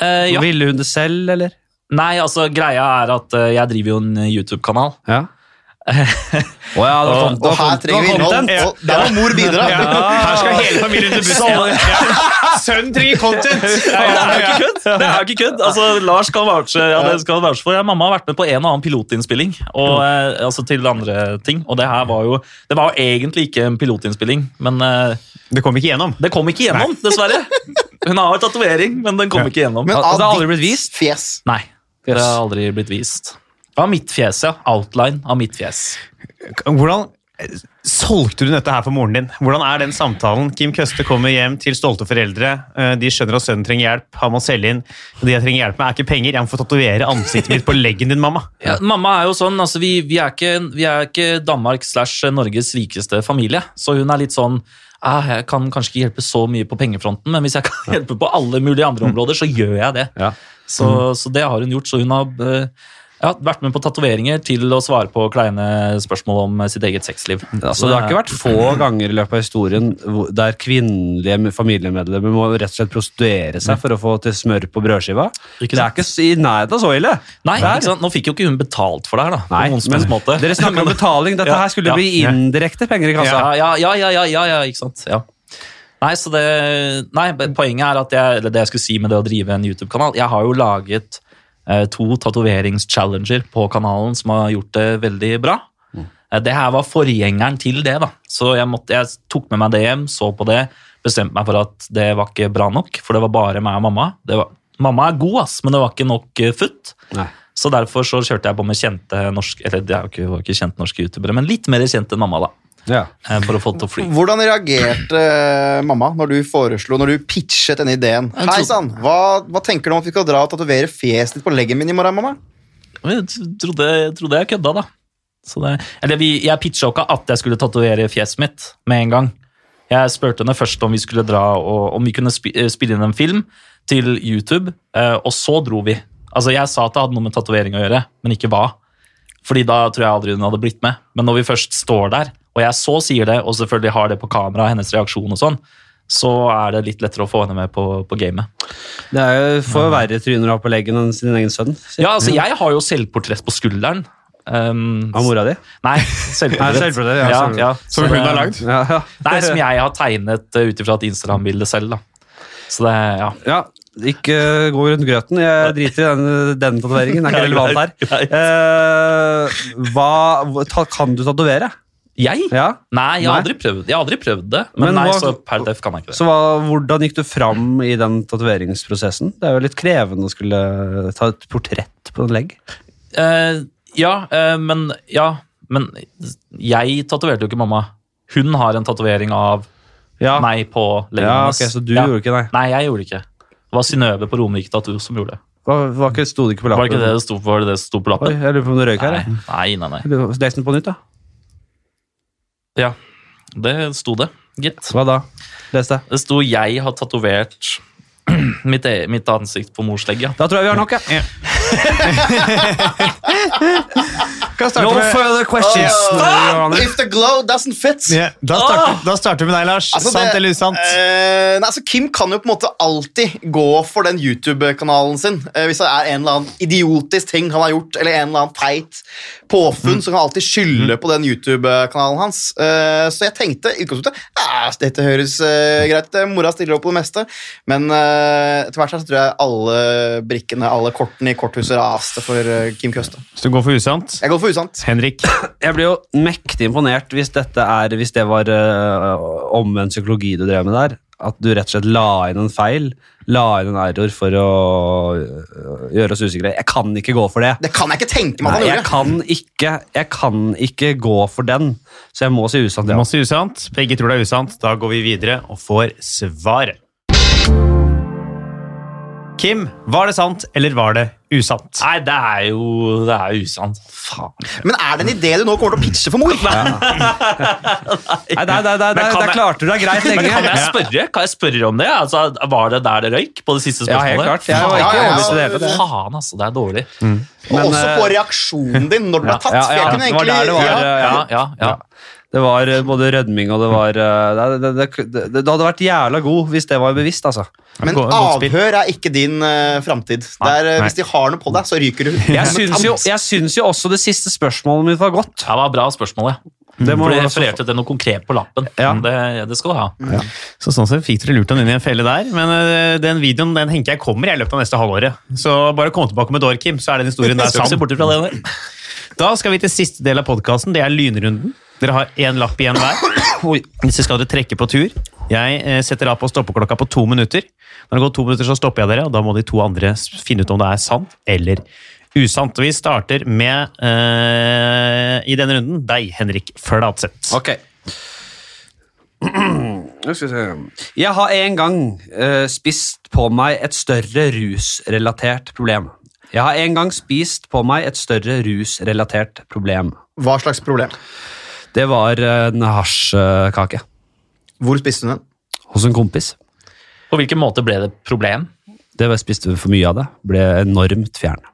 S3: Eh, ja.
S2: Ville hun det selv, eller?
S3: Nei, altså, greia er at eh, jeg driver jo en YouTube-kanal.
S2: Ja. Å ja, det var
S3: Og-
S2: sånn- det
S4: Og
S2: var
S4: her
S2: sånn-
S4: trenger vi
S2: det var
S4: innhold.
S2: content.
S4: Og der må mor bidra.
S1: Ah. Her skal hele familien til bussen. Sønnen trenger content!
S3: Det er jo ikke kødd! Det er jo ikke kødd. Altså, Lars skal vouche ja, det skal han vouche for. Ja, mamma har vært med på en og annen pilotinnspilling og, eh, altså, til andre ting. Og det her var jo Det var jo egentlig ikke en pilotinnspilling, men eh,
S1: Det kom ikke gjennom.
S3: det kom ikke gjennom, dessverre. Hun har jo tatovering, men den kom ikke gjennom.
S4: Men
S2: Og det har
S4: av
S2: aldri
S4: ditt
S2: blitt vist.
S4: fjes
S3: Nei. Det har aldri blitt vist. Av mitt fjes, ja. Outline av mitt fjes.
S1: Hvordan solgte du dette her for moren din? Hvordan er den samtalen? Kim Køste kommer hjem til stolte foreldre. Eh, De skjønner at sønnen trenger hjelp. Han må selge inn. Det jeg trenger hjelp med, er ikke penger. Jeg må få tatovere ansiktet mitt på leggen din, mamma.
S3: Ja, mamma er jo sånn, altså vi, vi, er ikke, vi er ikke Danmark slash Norges rikeste familie, så hun er litt sånn «Ah, jeg kan kanskje ikke hjelpe så mye på pengefronten, men hvis jeg kan hjelpe på alle mulige andre områder, så gjør jeg det.
S2: Ja.
S3: Så,
S4: Mm.
S3: så det har hun gjort. Så hun har eh, ja, vært med på tatoveringer til å svare på kleine spørsmål om eh, sitt eget sexliv.
S2: Altså, det har ikke vært få ganger i løpet av historien hvor- der kvinnelige familiemedlemmer må rett og slett prostituere seg for å få til smør på brødskiva. Det er
S3: sant?
S2: ikke s- i nærheten av så ille.
S3: Nei,
S2: Det er-
S3: ikke sant? Nå fikk jo ikke hun betalt for det her, da. på
S2: Nei,
S3: noen som helst
S2: men
S3: måte.
S2: Dere snakker om
S3: Men-
S2: betaling. Dette
S3: Ja,
S2: her skulle
S3: ja.
S2: bli indirekte penger i kassa.
S3: Ja, ja, ja, ja, ja, ja, ja ikke sant. Ja. Nei, så det, nei, men poenget er at jeg, eller det jeg skulle si med det å drive en YouTube-kanal Jeg har jo laget eh, to tatoveringschallenger på kanalen som har gjort det veldig bra.
S2: Mm.
S3: Eh, Det her var forgjengeren til det, da. Så jeg, måtte, jeg tok med meg det hjem, så på det, bestemte meg for at det var ikke bra nok, for det var bare meg og mamma. Det var, mamma er god, ass, men det var ikke nok eh, futt.
S2: Nei.
S3: Så derfor så kjørte jeg på med kjente norske, eller det er jo ikke, var ikke kjente norske youtubere, men litt mer kjent enn mamma, da.
S2: Ja.
S3: Eh, For å få det til å fly.
S4: Hvordan reagerte eh, mamma når du foreslo, når du pitchet denne ideen?
S3: Jeg tror-
S4: Hei sann, hva, hva tenker du om at vi skal dra og tatovere fjeset ditt på leggen min i morgen, mamma?
S3: Jeg trodde, trodde jeg kødda, da. Så det, eller vi, jeg pitcha jo ikke at jeg skulle tatovere fjeset mitt med en gang. Jeg spurte henne først om vi skulle dra og om vi kunne spi- eh, spille inn en film til YouTube, eh, og så dro vi. Altså, Jeg sa at det hadde noe med tatovering å gjøre, men ikke hva. Fordi da tror jeg aldri hun hadde blitt med. Men når vi først står der, og jeg så sier det, og selvfølgelig har det på kamera, hennes reaksjon og sånn, så er det litt lettere å få henne med på, på gamet.
S2: Det er jo for verre tryner å ha på leggen enn sin egen sønn. sier
S3: Ja, altså, jeg har jo selvportrett på skulderen. Um,
S2: Av mora di?
S3: Nei,
S2: Nei,
S3: selvportrett.
S2: selvportrett, ja, selvportrett.
S3: så det-
S2: Ja, ja.
S3: Nei, som jeg har tegnet eh, ut ifra et Instagram-bilde selv. da. Så det, ja.
S2: Ja, ikke eh, gå rundt grøten. Jeg driter i den, den tatoveringen. Det er ikke relevant her.
S3: Greit, greit.
S2: Eh, hva, hva- ta, kan du tatovere?
S3: Jeg?
S2: Ja.
S3: Nei, jeg har
S2: Nei.
S3: aldri prøvd, jeg har aldri prøvd det. Men,
S2: Men
S3: nei,
S2: hva-
S3: så per def kan jeg ikke det.
S2: Så hva, hvordan gikk du fram i den tatoveringsprosessen? Det er jo litt krevende å skulle ta et portrett på en legg.
S3: Eh, ja, eh, men, ja, men jeg tatoverte jo ikke mamma. Hun har en tatovering av
S2: Ja.
S3: meg på leggen
S2: Ja,
S3: hennes.
S2: ok, så du
S3: Ja.
S2: gjorde ikke det?
S3: Nei, jeg gjorde ikke. Det var Synnøve på Romerike Tattoo som gjorde det.
S2: Hva, var ikke, sto det ikke på
S3: Var
S2: lappen?
S3: det ikke det det sto, var det det som sto på
S2: Oi,
S3: lappen?
S2: jeg lurer på om du røyk her.
S3: Nei,
S2: jeg.
S3: nei, nei. nei.
S2: Eller, Les den på nytt, da.
S3: Ja, det sto det, gitt.
S2: Hva da? Les det.
S3: Det sto 'jeg har tatovert mitt, e- mitt ansikt på mors legg', ja.
S2: Da tror jeg vi har nok, ja.
S5: Kan jeg starte med-
S2: further questions. Johannes.
S4: If the glow doesn't fit
S5: Ja, da, starter, da starter vi med deg, Lars.
S4: Altså, det-
S5: sant eller usant?
S4: Eh, nei, altså Kim kan jo på en måte alltid gå for den YouTube-kanalen sin. Eh, hvis det er en eller annen idiotisk ting han har gjort, eller en eller annen teit påfunn, så kan han alltid skylde på den YouTube-kanalen hans. Eh, så jeg tenkte i utgangspunktet eh, dette høres eh, greit ut, mora stiller opp på det meste, men eh, etter hvert her så tror jeg alle brikkene, alle kortene i korthuset raste for eh, Kim Køste.
S1: Hvis du går for usant.
S4: Jeg går for usant.
S1: Henrik.
S2: Jeg blir jo mektig imponert hvis, dette er, hvis det var øh, omvendt psykologi du drev med der. At du rett og slett la inn en feil, la inn en error for å øh, gjøre oss usikre. Jeg kan ikke gå for det.
S4: Det kan jeg ikke tenke meg
S2: Nei,
S4: at han
S2: jeg,
S4: gjorde.
S2: kan ikke, jeg kan ikke gå for den, så jeg må si usant.
S1: Det
S2: Ja.
S1: må si usant. Begge tror det er usant. Da går vi videre og får svaret. Kim, var det sant, eller var det usant?
S3: Nei, det er jo det er jo usant. Faen.
S4: Men er det en idé du nå kommer til å pitche for mor?
S2: Nei, der, der, der,
S3: Men kan
S2: der, der
S3: jeg-
S2: klarte du deg greit
S3: Men kan
S2: lenge.
S3: jeg spørre Kan jeg spørre om det? Altså, var det der det røyk? På det siste
S2: Ja,
S3: spørsmålet?
S2: helt klart. Jeg var
S3: Faen,
S4: Ja,
S2: ikke
S4: ja, ja.
S2: overbevist i det hele tatt.
S4: det.
S3: Faen, altså. Det er dårlig.
S4: Og
S2: Men,
S4: også
S2: eh,
S4: på reaksjonen din når den ble tatt.
S2: Ja,
S4: for
S2: ja,
S4: jeg kunne
S2: det var
S4: egentlig...
S2: der det var.
S4: ja.
S2: Ja,
S3: Ja, ja, ja.
S2: Det var eh, både rødming og det var eh, Det, det, det, det, det hadde vært jævla god hvis det var bevisst, altså.
S4: Men
S1: Gå- godt spill.
S4: avhør er ikke din uh, framtid. Det er, eh,
S1: nei.
S4: Hvis de har noe på deg, så ryker du.
S2: Jeg syns, jo, jeg syns jo også det siste spørsmålet mitt var godt.
S3: Det var bra spørsmål, ja.
S2: Det må
S3: For det
S2: Mm. jeg også-
S3: refererte til noe konkret på lappen.
S2: Ja.
S3: Det, det skal du ha.
S1: Så sånn sett fikk dere lurt han inn i en felle der. Men eh, den videoen den tenker jeg kommer i løpet av neste halvåret. Så bare kom tilbake om et år, Kim, så er den historien der
S3: Jeg skal ikke se
S1: sann.
S3: bort ifra det. nei.
S1: Da skal vi til siste del av podkasten. Det er lynrunden. Dere har én lapp igjen hver.
S2: Oi.
S1: Disse skal dere trekke på tur. Jeg eh, setter av på stoppeklokka på to minutter. Når det går to minutter, så stopper jeg dere, og da må de to andre s- finne ut om det er sant eller usant. Vi starter med, eh, i denne runden, deg, Henrik Fladseth.
S2: Ok. Nå skal vi se. Jeg har en gang eh, spist på meg et større rusrelatert problem. Jeg har en gang spist på meg et større rusrelatert problem.
S4: Hva slags problem?
S2: Det var eh, en hasjkake
S4: Hvor spiste du den?
S2: hos en kompis.
S3: På hvilken måte ble det problem?
S2: Det var jeg spiste for mye av det. Ble enormt fjern.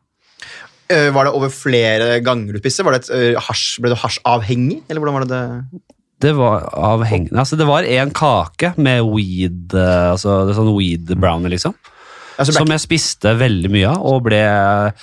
S4: Eh, var det over flere ganger du spiste? Var det et, eh, hasj, ble du hasjavhengig? Eller hvordan var det det?
S2: Det var avhengende. Altså, det var en kake med weed, eh, altså det er sånn weed brownie, liksom.
S4: Altså, det
S2: Som
S4: ble,
S2: jeg spiste veldig mye av, og ble et,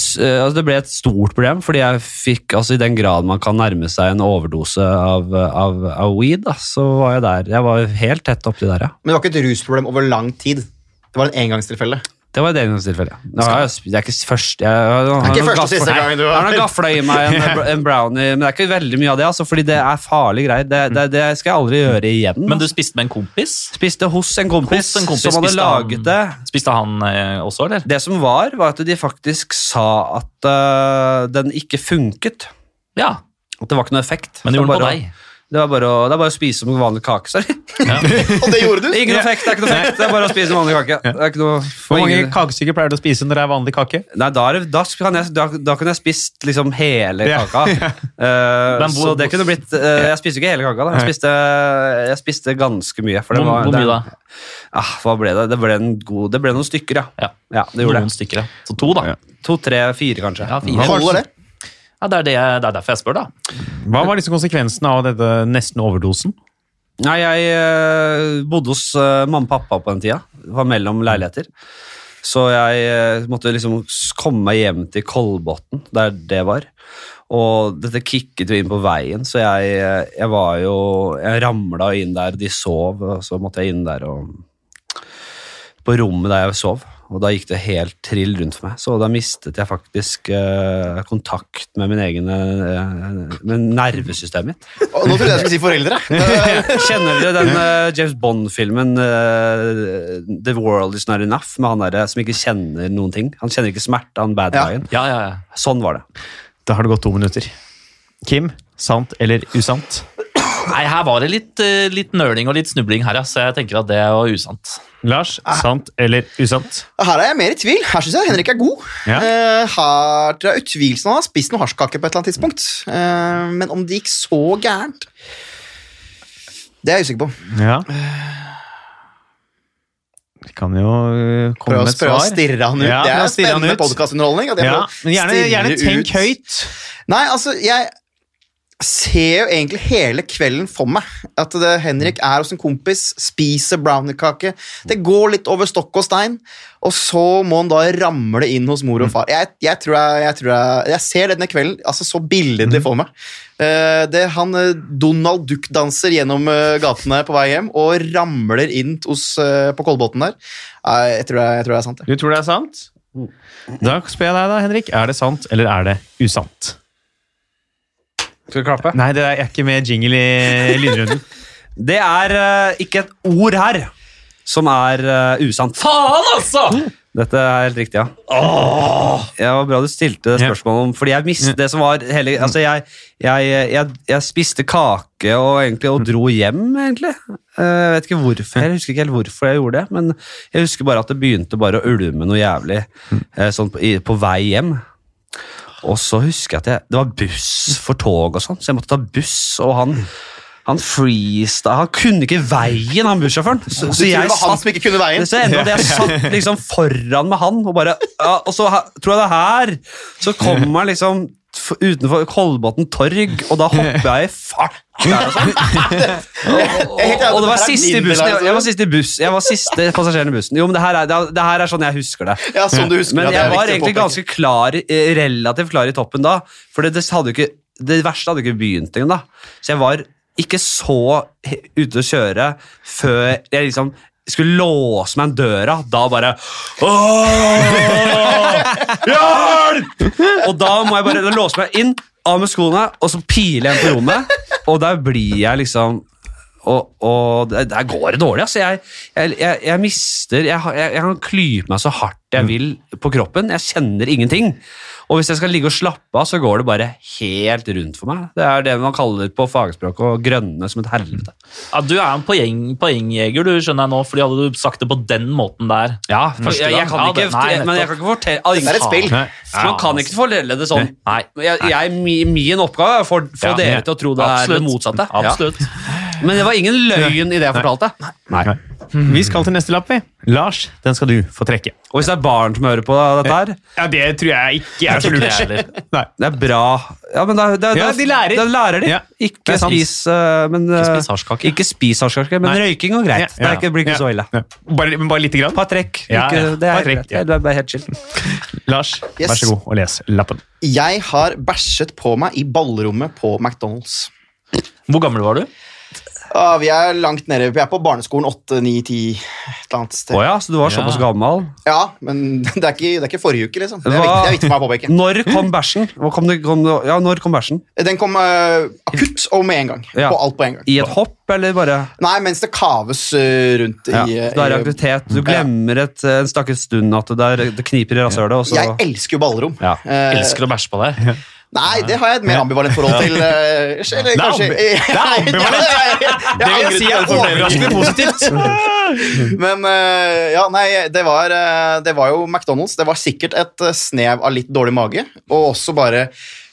S2: s- eh, altså det ble et stort problem, fordi jeg fikk, altså i den grad man kan nærme seg en overdose av, eh, av, av weed, da, så var jeg der. Jeg var helt tett opptil der, ja.
S4: ikke- men det var ikke et rusproblem over lang tid. Det var en engangstilfelle.
S2: Det var et engangstilfelle. ja. Nå har jeg sp- Det er ikke første jeg, jeg, jeg,
S4: ikke første og siste gangen du
S2: har
S4: har-
S2: noen gafla i meg en, en brownie, men det er ikke veldig mye av det, altså, fordi det er farlige greier. Det, det, det skal jeg aldri gjøre igjen.
S3: Men du
S2: altså.
S3: spiste med en kompis?
S2: spiste hos en kompis,
S3: Hos en kompis
S2: som hadde
S3: spiste han-
S2: laget det.
S3: Spiste han eh, også, eller?
S2: Det som var, var at de faktisk sa at øh, den ikke funket.
S3: Ja,
S2: At det var ikke noe effekt.
S3: men
S2: Så
S3: gjorde det
S2: bare-
S3: på deg.
S2: Det, var bare å, det er bare å spise som en vanlig kake. Sorry.
S4: Og det gjorde du?
S2: Ingen effekt, det er ikke noe effekt. Det er bare å spise som vanlig kake. Det er ikke noe,
S1: Hvor mange
S2: ingen-
S1: kakestykker pleier du å spise når det er vanlig kake?
S2: Nei, da, er, det- da, kan jeg, da, da kunne jeg spist liksom hele
S1: Ja,
S2: kaka. Eh,
S3: Men hvor-
S2: så det kunne blitt eh, Jeg spiste jo ikke hele kaka, da. Jeg spiste, jeg spiste ganske mye. For det
S3: Hvor-
S2: var,
S3: hvor
S2: det-
S3: mye da?
S2: Ah, hva ble det? Det ble, en god, det ble noen stykker, ja.
S3: Ja.
S2: det gjorde
S3: Noen
S2: det.
S3: stykker, ja. Så to, da.
S2: To, tre, fire, kanskje.
S3: Ja, fire.
S4: Holder det?
S3: Ja, det, er det, jeg- det er derfor jeg spør, da.
S1: Hva var liksom konsekvensen av dette nesten overdosen?
S2: Nei, jeg eh, bodde hos eh, mamma og pappa på den tida. Det var mellom leiligheter. Så jeg eh, måtte liksom s- komme meg hjem til Kolbotn, der det var. Og dette kikket jo inn på veien, så jeg, eh, jeg var jo Jeg ramla inn der de sov, og så måtte jeg inn der og På rommet der jeg sov. Og da gikk det helt trill rundt for meg. Så da mistet jeg faktisk eh, kontakt med min egen eh, Med nervesystemet mitt.
S4: Og Nå trodde jeg jeg skulle si foreldre.
S2: Kjenner dere den eh, James Bond-filmen eh, The World Is Not Enough, med han der som ikke kjenner noen ting? Han kjenner ikke smerte, han bad
S4: Ja.
S2: guyen.
S3: Ja, ja, ja.
S2: Sånn var det.
S1: Da har det gått to minutter. Kim, sant eller usant?
S3: Nei, her var det litt, eh, litt nøling og litt snubling her, ja. Så jeg tenker at det var usant.
S1: Lars, sant eller usant?
S4: Her er jeg mer i tvil. Her syns jeg Henrik er god.
S1: Ja.
S4: Eh, Her tror jeg utvilsomt han har spist noen hasjkake på et eller annet tidspunkt. Eh, Men om det gikk så gærent Det er jeg usikker på.
S1: Ja. Vi kan jo øh, komme
S4: Prøv å,
S1: med et
S4: prøv å
S1: svar.
S4: stirre han ut.
S1: Ja,
S4: det
S1: prøv å
S4: er
S1: stirre han
S4: spennende
S1: ut.
S4: podkastunderholdning. at jeg
S1: Ja,
S4: prøver å
S1: men gjerne, gjerne
S4: stirre
S1: tenk
S4: ut.
S1: høyt.
S4: Nei, altså, jeg ser jo egentlig hele kvelden for meg. At det, Henrik er hos en kompis, spiser browniekake. Det går litt over stokk og stein, og så må han da ramle inn hos mor og far. Jeg, jeg, tror jeg, jeg, tror jeg, jeg ser denne kvelden altså så billedlig for meg. Eh, det, han eh, Donald Duck danser gjennom eh, gatene på vei hjem og ramler inn hos, eh, på Kolbotn der. Nei, jeg, tror jeg, jeg tror det er sant. det.
S1: Du tror det er sant? Da spør jeg deg da, Henrik. Er det sant, eller er det usant?
S2: Skal vi klappe?
S1: Nei, det er jeg er ikke med jingle i lydrunden.
S2: Det er eh, ikke et ord her som er eh, usant.
S3: Faen, altså!
S2: Dette er helt riktig, ja. Ja, det var bra du stilte det spørsmålet om Fordi jeg mistet det som var hele Altså, jeg, jeg, jeg, jeg spiste kake og, egentlig, og dro hjem, egentlig. Eh, Jeg vet ikke hvorfor Jeg husker ikke helt hvorfor jeg gjorde det, men jeg husker bare at det begynte bare å ulme noe jævlig eh, sånn på, i, på vei hjem. Og så husker jeg at jeg, det var buss for tog og sånn, så jeg måtte ta buss, og han han freesta Han kunne ikke veien, han bussjåføren. Så,
S4: Du
S2: så
S4: tror
S2: jeg
S4: det var han
S2: satt
S4: som ikke kunne veien?
S2: så endte det at jeg satt liksom foran med han, og bare ja, Og så her- tror jeg det er her Så kommer jeg liksom f- utenfor Kolbotn torg, og da hopper jeg i fart. Der og, sånn. og, og, og det var siste i bussen. Jeg, jeg var siste i buss Jeg var siste passasjeren i bussen. Jo, men det her er, det, er- det her er sånn jeg husker det.
S4: Ja, som du husker.
S2: Men
S4: ja, det er
S2: jeg var
S4: viktig å
S2: egentlig
S4: påpeke.
S2: ganske klar, eh, relativt klar i toppen da, for det, det hadde jo ikke det verste hadde jo ikke begynt engang, da. Så jeg var ikke så he- ute å kjøre før jeg liksom skulle låse meg en døra. Da bare «Åh! Hjelp! Og da må jeg bare da låse meg inn, av med skoene, og så pile igjen på rommet. Og der blir jeg liksom og, og det- der går det dårlig. Altså. Jeg, jeg, jeg, jeg mister jeg, har- jeg, jeg kan klype meg så hardt
S3: Mm.
S2: jeg vil på kroppen. Jeg kjenner ingenting. Og hvis jeg skal ligge og slappe av, så går det bare helt rundt for meg. Det er det man kaller på fagspråket å grønne som et helvete.
S3: Ja, du er en poeng, poengjeger, du, skjønner jeg nå, fordi hadde du sagt det på den måten der
S2: Ja, for
S3: Første
S2: jeg, jeg kan
S3: gang.
S2: ikke,
S3: Ja, det- nei,
S2: men jeg kan ikke fortelle ah,
S4: Det er et spill.
S1: Nei.
S2: Man kan
S3: altså.
S2: ikke fortelle det sånn.
S3: Nei.
S2: Jeg, jeg, mi- min oppgave er å få få
S3: Ja.
S2: dere til å tro det er det motsatte. Ja.
S3: Absolutt.
S2: Men det var ingen løgn i det jeg fortalte.
S1: Nei. Vi skal til neste lapp, vi. Lars, den skal du få trekke.
S2: Og hvis det er barn som hører på dette her
S1: Ja, Det tror jeg ikke er så
S3: Ikke
S1: lurt.
S3: jeg heller.
S1: Nei.
S2: Det er bra. Ja, men da, da,
S1: Ja,
S2: da,
S1: de lærer.
S2: Da lærer de.
S1: Ja, det
S2: Ikke
S1: er sant.
S2: spis, eh, men, eh,
S3: Ikke spis hasjkake.
S2: Ikke spis hasjkake, men
S1: Nei.
S2: røyking går greit.
S1: Ja,
S2: Det er ikke, blir ikke
S1: ja,
S2: så ille.
S1: ja. Bare, men bare lite grann.
S2: Par trekk.
S1: Ja,
S2: ikke,
S1: ja.
S2: Det er
S1: Par trekk,
S2: helt-
S1: ja.
S2: det er bare helt chill.
S1: Lars, vær
S4: Yes.
S1: så god og les lappen.
S4: Jeg har bæsjet på meg i ballrommet på McDonald's.
S3: Hvor gammel var du?
S4: Ah, vi er langt nede. Vi er på barneskolen 8, 9, 10, et eller annet sted.
S2: Å ja, så du var såpass gammel.
S4: Ja, men det er, ikke, det er ikke forrige uke, liksom. Det er
S2: Hva-
S4: viktig, det er viktig for meg å påpeke.
S2: Når kom bæsjen? Hvor Kom det, kom det, ja, når kom bæsjen?
S4: Den kom eh, akutt og med en gang.
S2: Ja.
S4: På alt på en gang.
S2: I et hopp, eller bare
S4: Nei, mens det kaves eh, rundt
S2: ja,
S4: i, eh,
S2: så Da er
S4: i-
S2: det aktivitet. Du glemmer et, eh, en stakkars stund at det, er, det kniper i rasshølet, og så
S4: Jeg elsker jo ballrom.
S2: Ja,
S4: Eh,
S3: Elsker å bæsje på deg.
S4: Nei, det har jeg et mer ambivalent forhold til. eh, Eller kanskje
S1: ambi- det er ambivalent.
S4: Det
S1: positivt.
S4: Men eh, ja, nei, det var, eh, det var jo McDonald's. Det var sikkert et eh, snev av litt dårlig mage, og også bare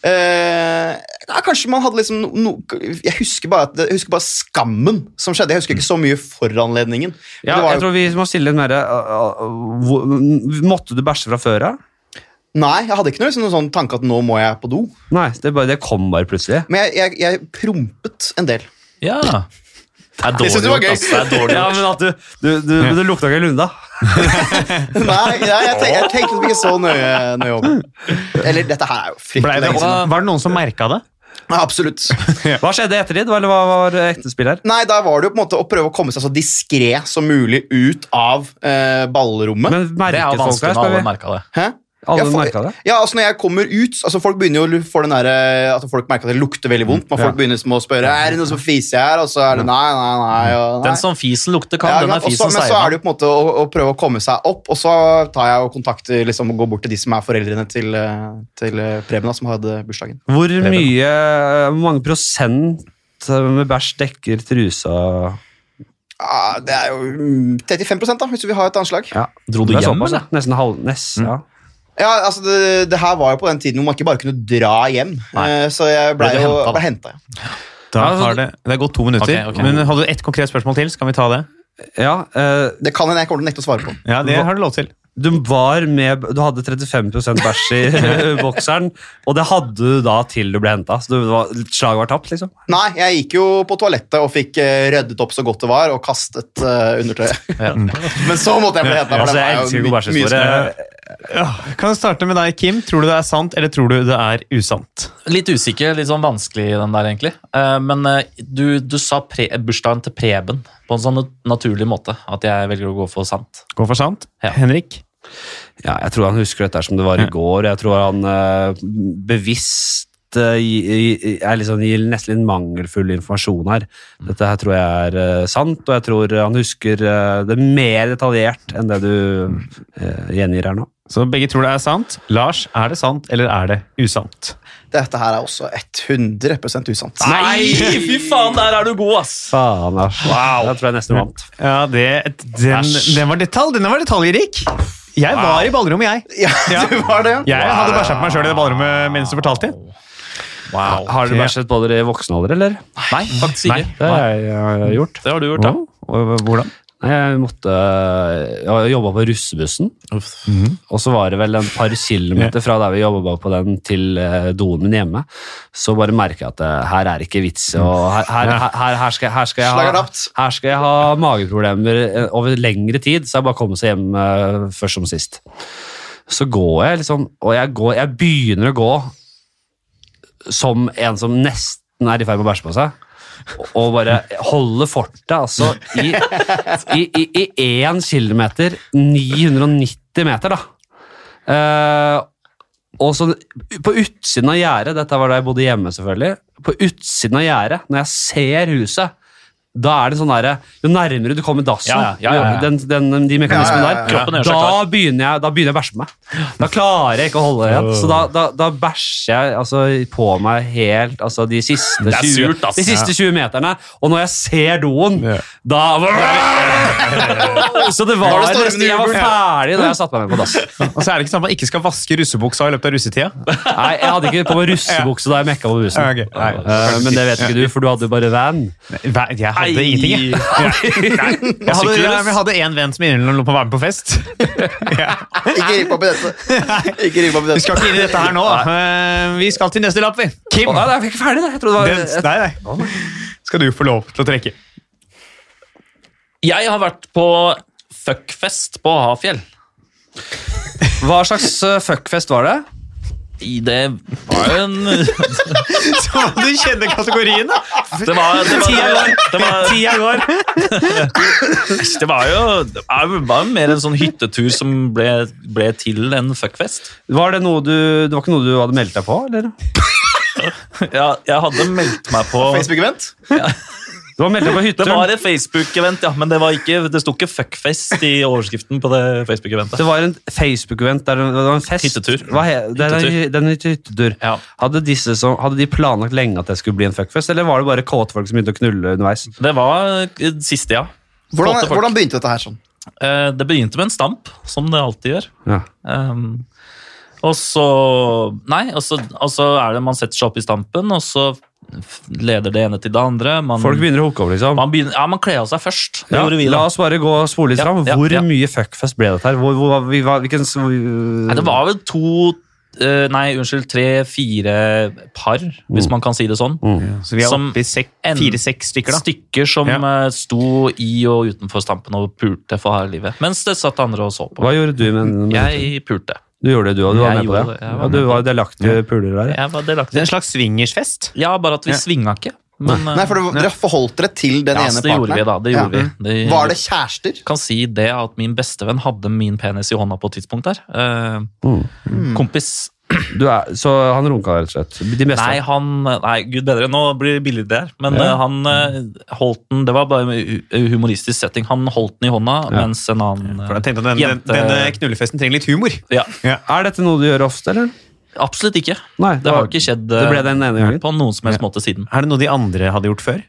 S4: eh, ja, Kanskje man hadde liksom no, no, Jeg husker bare, at, jeg husker bare skammen som skjedde. Jeg husker ikke så mye foranledningen. Men
S2: Ja,
S4: det var
S2: jeg
S4: jo-
S2: tror vi må stille litt mer uh, uh, hvor- Måtte du bæsje fra før av?
S4: Nei, jeg hadde ikke noe, liksom, noen sånn tanke at nå må jeg på do.
S2: Nei, det, bare, det kom bare plutselig.
S4: Men jeg, jeg, jeg prompet en del.
S3: Ja. Det er dårlig
S4: synes det var
S3: gjort,
S4: gøy.
S3: ass. Det er dårlig
S2: Ja,
S3: gjort.
S2: men at du, du, du, men det lukta ikke lunda.
S4: Nei, nei jeg, tenk, jeg tenkte liksom ikke så nøye, nøye over Eller dette her er jo
S1: Ble
S4: fryktelig
S1: det, sånn?
S4: lenge siden.
S1: var det noen som merka det?
S4: Ja, Absolutt.
S2: Hva skjedde etter det? Eller hva var ektespill her?
S4: Nei, da var det jo på en måte å prøve å komme seg så diskré som mulig ut av eh, ballrommet.
S2: Men
S3: Det er jo
S2: merket folk
S3: vanskelig når
S2: her, spør
S3: alle
S2: vi.
S3: merka det.
S4: Hæ?
S2: Alle
S4: Ja, for-
S2: merket det?
S4: Ja, altså når jeg kommer ut, altså Folk begynner jo å få den der, eh, at folk merker at det lukter veldig vondt.
S3: Mm,
S4: Men folk begynner som å spørre er det noen som fiser her, og så er det nei, nei, nei. Og, nei.
S3: Den som fisen lukter kan,
S4: Ja,
S3: den
S4: men-
S3: er
S4: og så-
S3: fisen
S4: Men så er det
S3: seier.
S4: jo på en måte å, å prøve å komme seg opp, og så tar jeg og kontakter liksom, og går bort til de som er foreldrene til, eh, til eh, Preben, da, som hadde bursdagen.
S2: Hvor mye, eh, hvor mange prosent eh, med bæsj dekker trusa?
S4: Ja, Ah, det er jo mm, 35 da, hvis vi har et anslag.
S2: Ja.
S3: Dro du
S2: Det er
S3: hjem,
S2: såpass,
S3: eller? Mm.
S2: ja. Nesten halv... Nesten, ja.
S4: Ja, altså det, det her var jo på den tiden hvor man ikke bare kunne dra hjem. Eh, Så jeg ble,
S3: Ble du
S4: jo
S3: hentet, da?
S4: ble henta.
S1: Da
S2: Ja, altså,
S1: har det, det er gått to minutter.
S3: Ok, ok.
S1: Men hadde du ett konkret spørsmål til, så kan vi ta det.
S2: ja eh,
S4: Det kan hende jeg kommer til å nekte å svare på.
S1: Ja, det har du lov til.
S2: du var med Du hadde 35 bæsj i bokseren, og det hadde du da til du ble henta. Så det var, slaget var tapt, liksom.
S4: Nei, jeg gikk jo på toalettet og fikk eh, ryddet opp så godt det var, og kastet eh, undertøyet. Men så måtte jeg bli henta.
S2: Altså, jeg elsker god bæsjehistorie.
S1: Ja, kan jeg starte med deg, Kim. Tror du det er sant, eller tror du det er usant?
S3: Litt usikker, litt sånn vanskelig den der, egentlig. Eh, Men eh, du, du sa pre bursdagen til Preben på en sånn nat- naturlig måte at jeg velger å gå for sant.
S1: Gå for sant.
S3: Ja.
S1: Henrik?
S2: Ja, jeg tror han husker dette her som det var i går. Jeg tror han eh, bevisst eh, gi- gi- er litt sånn- gir nesten litt mangelfull informasjon her. Dette her tror jeg er eh, sant, og jeg tror han husker eh, det mer detaljert enn det du eh, gjengir her nå.
S1: Så begge tror det er sant. Lars, er det sant, eller er det usant?
S4: Dette her er også 100 usant.
S3: Nei, fy faen, der er du god, ass!
S2: Faen, Lars. Jeg tror jeg nesten vant.
S1: Ja, det, den,
S3: Æsj.
S1: den var detalj, den var detaljrik. Jeg var i ballrommet, jeg.
S4: Ja, du var det, ja.
S1: Jeg hadde bæsja på meg sjøl i det ballrommet mens du fortalte det.
S3: Wow.
S2: Har du bæsjet på dere i voksen alder, eller?
S3: Nei, faktisk ikke.
S2: Det
S3: Nei.
S2: har jeg gjort.
S3: Det har du gjort, ja.
S1: eh, Hvordan?
S2: Nei, Jeg måtte eh, Jeg jobba på russebussen. Og så var det vel en par kilometer fra der vi jobba på den, til eh, doen min hjemme. Så bare merka jeg at eh, her er det ikke vits. Og her, her, her, her, skal, jeg- her, skal jeg
S4: Slag er
S2: ha,
S4: tapt.
S2: her skal jeg ha mageproblemer eh, over lengre tid, så jeg bare kommer seg hjem eh, først som sist. Så går jeg liksom Og jeg, går, jeg begynner å gå som en som nesten er i ferd med å bæsje på seg. Og bare holde fortet, altså. I, i, i, i én kilometer, 990 meter, da. Eh, og så på utsiden av gjerdet, dette var da jeg bodde hjemme selvfølgelig, på utsiden av gjerdet, når jeg ser huset, da er det sånn derre Jo nærmere du kommer dassen,
S3: Ja, ja, ja, ja.
S2: Den, den, de mekanismene
S4: Ja, ja, ja, ja.
S2: der,
S3: Kroppen gjør seg
S2: da
S3: klar.
S2: begynner jeg da begynner jeg å bæsje på meg. Da klarer jeg ikke å holde det igjen. Så da, da, da bæsjer jeg altså, på meg helt altså, de, siste
S3: er
S2: 20,
S3: surt, ass.
S2: de siste 20 meterne. Og når jeg ser doen, da Så det var
S4: Da er det stormende
S2: nesten Jeg var
S4: jubel.
S2: ferdig da jeg satte meg med på dass.
S1: Og så er det ikke sånn at man ikke skal vaske russebuksa i løpet av russetida.
S2: Nei, jeg hadde ikke på meg russebukse da jeg mekka på bussen.
S1: Ja, ok. Nei.
S2: Eh, men det vet ikke du, for du hadde jo bare van.
S1: Hva- Jeg hadde
S3: Nei.
S1: ingenting, jeg. Nei. Jeg hadde, jeg hadde en venn som innimellom lå på å være med på fest.
S4: Ikke rip opp i dette. Ikke rip opp i
S1: Vi skal
S4: dette.
S1: ikke inn i dette her nå. da. Eh, Vi skal til neste lapp, vi. Kim.
S2: Å, nei, nei, jeg fikk ikke ferdig, det. Jeg trodde det
S1: Den,
S2: var
S1: nei, nei. Skal du få lov til å trekke.
S3: Jeg har vært på fuckfest på Hafjell.
S2: Hva slags eh, fuckfest var det?
S3: I det var jo en Det
S1: Så må du kjenne kategorien, da.
S3: var, det var, det var,
S1: Tida går.
S3: Æsj, det var jo det var jo mer en sånn hyttetur som ble, ble til en fuckfest.
S2: Var det, noe du, det var ikke noe du hadde meldt deg på? eller?
S3: Ja, jeg hadde meldt meg på
S4: Facebook-event?
S2: Du Du var meldt deg på
S3: Det
S2: hytteturen.
S3: var et Facebook-event, ja, men det, var ikke, det sto ikke 'fuckfest' i overskriften på det Facebook-eventet.
S2: Det var en Facebook-event der det var en fest.
S3: Hyttetur.
S2: Hva he, det, er en hy- det er en hyttetur.
S3: Ja.
S2: Hadde, disse som, hadde de planlagt lenge at det skulle bli en fuckfest, eller var det bare kåte folk som begynte å knulle underveis?
S3: Det var eh, siste, ja. Flotte
S4: Hvordan,
S3: folk.
S4: hvordan begynte dette her sånn?
S3: Eh, Det begynte med en stamp, som det alltid gjør.
S2: Ja.
S3: Ehm, og så Nei, og så, og så er det man setter seg opp i stampen, og så f- leder det ene til det andre. Man,
S2: Folk begynner å hooke opp, liksom.
S3: man begynner, ja, man kler av seg først. Det
S2: Ja,
S3: gjorde vi,
S2: la
S3: da.
S2: oss bare gå og spole litt
S3: Ja,
S2: fram.
S3: ja,
S2: Hvor
S3: ja.
S2: mye fuckfest ble dette her? Hvor, hvor, var vi, var- hvilken,
S3: Nei, det var vel to eh, Nei, unnskyld, tre-fire par, hvis man kan si det sånn.
S2: Mm.
S1: Så vi er
S3: Som
S1: oppe i sek-
S3: en-
S1: fire-seks stykker, da.
S3: Stykker som
S1: Ja.
S3: eh, sto i og utenfor stampen og pulte for harde livet. Mens det satt andre og så på.
S2: Hva gjorde du med den?
S3: Jeg pulte.
S2: Du gjorde det, du òg. Du var
S3: Jeg
S2: med på det.
S3: gjorde det, jeg var
S2: Ja,
S3: med
S2: du
S3: på
S2: var delaktig i puler der. ja.
S3: Jeg var delaktig.
S1: Det er en slags swingersfest.
S3: Ja, bare at vi
S1: Ja.
S3: svinga ikke. Men, eh,
S4: Nei, for det, Dere forholdt dere til den
S3: ja,
S4: ene
S3: så det gjorde vi, da. Det
S4: Ja.
S3: gjorde vi. Det,
S4: Var det kjærester?
S3: kan si det at min bestevenn hadde min penis i hånda på et tidspunkt der. Eh,
S1: Mm.
S3: Kompis
S2: Du er, så han runka rett og slett. De beste.
S3: Nei, han Nei, gud bedre, nå blir det billig det her. Men
S2: Ja.
S3: eh, han eh, holdt den Det var bare en hu- humoristisk setting. Han holdt den i hånda, mens en annen eh,
S1: For jeg tenkte at den, den,
S3: jente-
S1: Denne knullefesten trenger litt humor.
S3: ja,
S2: Er dette noe du gjør ofte, eller?
S3: Absolutt ikke.
S2: Nei,
S3: Det har jo ikke skjedd eh,
S2: Det ble den ene gangen.
S3: på noen som helst måte siden.
S1: Er det noe de andre hadde gjort før?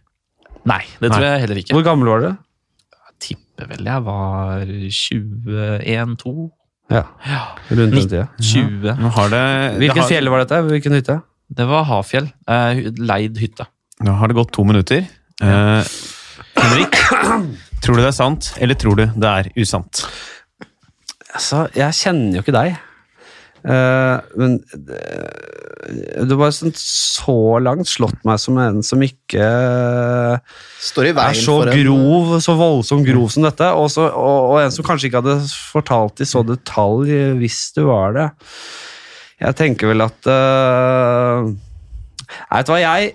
S3: Nei, det tror jeg heller ikke.
S2: Hvor gammel var du?
S3: Jeg tipper vel jeg var 21-2.
S2: Ja. Rundt den tida.
S3: 20.
S1: Nå har det, det
S2: Hvilken
S1: har,
S2: fjell var dette? Hvilken hytte?
S3: Det var Hafjell. eh, hu- leid hytte.
S1: Nå har det gått to minutter. Eh, Henrik, tror du det er sant, eller tror du det er usant?
S2: Altså, jeg kjenner jo ikke deg. Eh, men eh, du har bare sånn så langt slått meg som en som ikke
S4: Står i
S2: er
S4: veien
S2: så
S4: for en
S2: grov, så voldsomt grov som dette, og, så, og, og en som kanskje ikke hadde fortalt i så detalj eh, hvis du var det. Jeg tenker vel at eh, Nei, vet du hva, jeg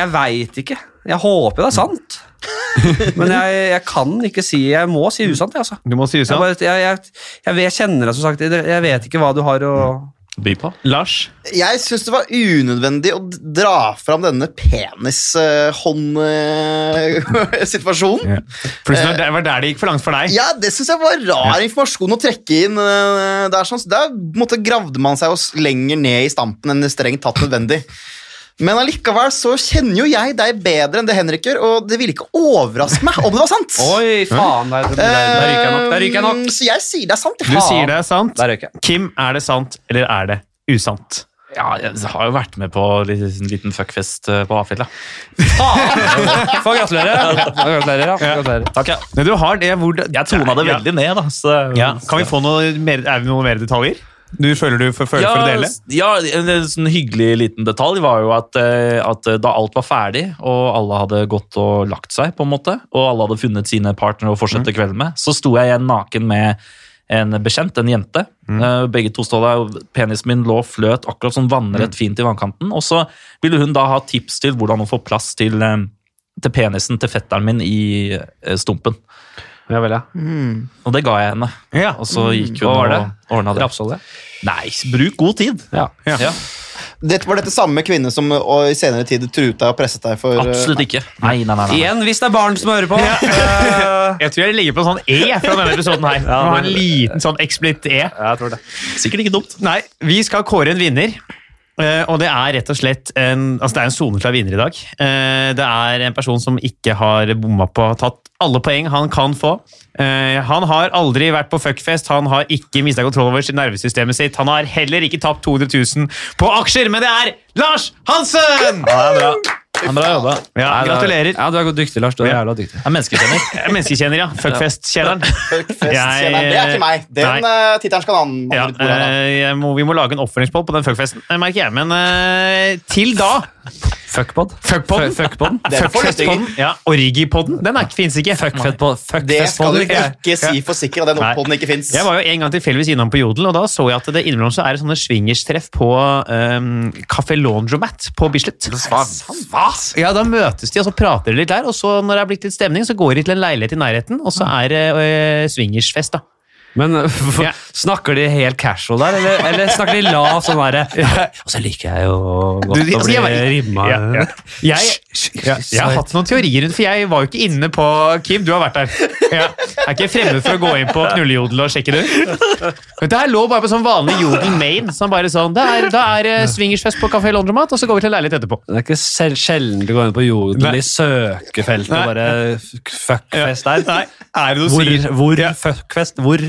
S2: Jeg veit ikke. Jeg håper det er sant. Men jeg, jeg kan ikke si Jeg må si usant, jeg, altså.
S1: Du må si
S2: Jeg,
S1: usant.
S2: bare, jeg, jeg, jeg, jeg kjenner deg, som sagt. Jeg- Jeg vet ikke hva du har å
S4: Mm.
S3: By på.
S1: Lars,
S4: Jeg syns det var unødvendig å dra fram denne eh, penishånd-situasjonen.
S1: plutselig
S2: Eh.
S1: var det- var der det gikk for langt for deg.
S4: eh, Ja, det syns jeg var rar informasjon å trekke inn. eh, Der, sånn. Så der på en måte, gravde man seg jo s- lenger ned i stampen enn det strengt tatt nødvendig. Men allikevel så kjenner jo jeg deg bedre enn det Henrik gjør, og det ville ikke overraske meg om det var sant.
S2: Oi, faen! Der, der, der ryker jeg nok. Der ryker jeg nok.
S4: Eh, Så jeg sier det er sant.
S1: Du sier det er sant.
S2: Der røyker jeg.
S1: Kim, er det sant, eller er det usant?
S3: Ja, jeg har jo vært med på litt- en liten fuckfest eh, på Hafjell, da.
S2: Få gratulere. Få Gratulerer. ja. Gratulerer.
S3: Takk, ja.
S1: Men du har det hvor det-
S3: Jeg tona det veldig ned, da. Så,
S1: Ja. Ja. Kan vi få noe mer, er det noen mer detaljer? Du føler du for, føler
S3: ja,
S1: for å dele?
S3: s- ja, en en sånn hyggelig liten detalj var jo at, eh, at eh, da alt var ferdig, og alle hadde gått og lagt seg, på en måte, og alle hadde funnet sine partnere å fortsette kvelden med, så sto jeg igjen naken med en bekjent, en jente. Eh, Begge to stod der, og penisen min lå og fløt akkurat sånn vannrett fint i vannkanten. Og så ville hun da ha tips til hvordan å få plass til, eh, til penisen til fetteren min i eh, stumpen.
S2: Ja vel, ja.
S3: Og det ga jeg henne.
S1: Ja.
S3: Og så gikk hun
S2: Hva var
S3: og
S2: det?
S3: ordna det.
S2: Rapsolje?
S3: Nei, bruk god tid!
S2: Ja.
S3: Ja.
S4: Dette var dette samme kvinne som eh, og i senere tid truet deg og presset deg for eh,
S3: Absolutt ikke. Nei, nei, nei. nei.
S2: Igjen, hvis det er barn som hører på. Eh,
S1: Jeg tror jeg ligger på en sånn E fra denne episoden her. Vi må ha en liten sånn eksplitt E.
S3: Sikkert ikke dumt.
S1: Nei, vi skal kåre en vinner. Eh, og det er rett og slett en, altså det er en soleklar vinner i dag. Eh, det er en person som ikke har bomma på tatt alle poeng han kan få. Eh, han har aldri vært på fuckfest, han har ikke mista kontroll over sitt nervesystemet sitt. Han har heller ikke tapt 200 000 på aksjer, men det er Lars Hansen!
S3: Ja, det er bra. Det er bra jobba.
S1: Ja, gratulerer.
S2: Ja, du er dyktig, Lars. Du er jævla dyktig.
S3: Jeg er menneskekjenner.
S1: Jeg er Menneskekjenner, ja. Fuckfest-kjenneren. Jeg-
S4: Fuckfest-scenen. Det er ikke meg. Den eh, tittelen skal han ha
S1: Ja,
S4: litt bord av.
S1: eh, jeg må, vi må lage en oppfølgingspod på den fuckfesten, eh, merker jeg. Men eh, til da
S2: Fuckpod.
S1: Fuckpodden.
S2: Fuck- Fuckpodden.
S4: Det er for
S1: Fuckfestpodden. Ja, Origipodden. Den er- finnes ikke.
S2: Fuckfedpod-
S4: Det skal du
S2: Fuckfestpodden.
S4: ikke si for sikkert. Den
S1: Nei.
S4: oppholden ikke fins.
S1: Jeg var jo en gang tilfeldigvis innom på Jodel, og da så jeg at det innimellom så er det sånne swingerstreff på um, Café Laundromat på Bislett. Hva? Ja, da møtes de, og så prater de litt Mm. der, og så når det er blitt litt stemning, så går de til en leilighet i nærheten, og så er det eh, swingersfest, da.
S2: Men eh, for,
S1: Ja.
S2: snakker de helt casual der, eller, eller snakker de lav sånn derre Og så liker jeg jo godt
S1: Du, de-
S2: å
S1: altså,
S2: bli
S1: jeg var-
S2: rimma
S1: Ja, ja. Jeg, ja, jeg har hatt noen teorier rundt, for jeg var jo ikke inne på Kim. Du har vært der. Ja. Jeg er ikke fremmed for å gå inn på knullejodel og sjekke det ut. Men Det her lå bare på sånn vanlig jodel main. Sånn bare sånn, det er, Da er det swingersfest på Kafé Laundromat, og så går vi til en leilighet etterpå.
S2: Det er ikke sel- sjelden du går inn på jodel
S1: Nei.
S2: i søkefeltet og
S1: Nei.
S2: bare f- fuckfest der.
S1: er det
S2: Hvor, hvor fuckfest? Hvor?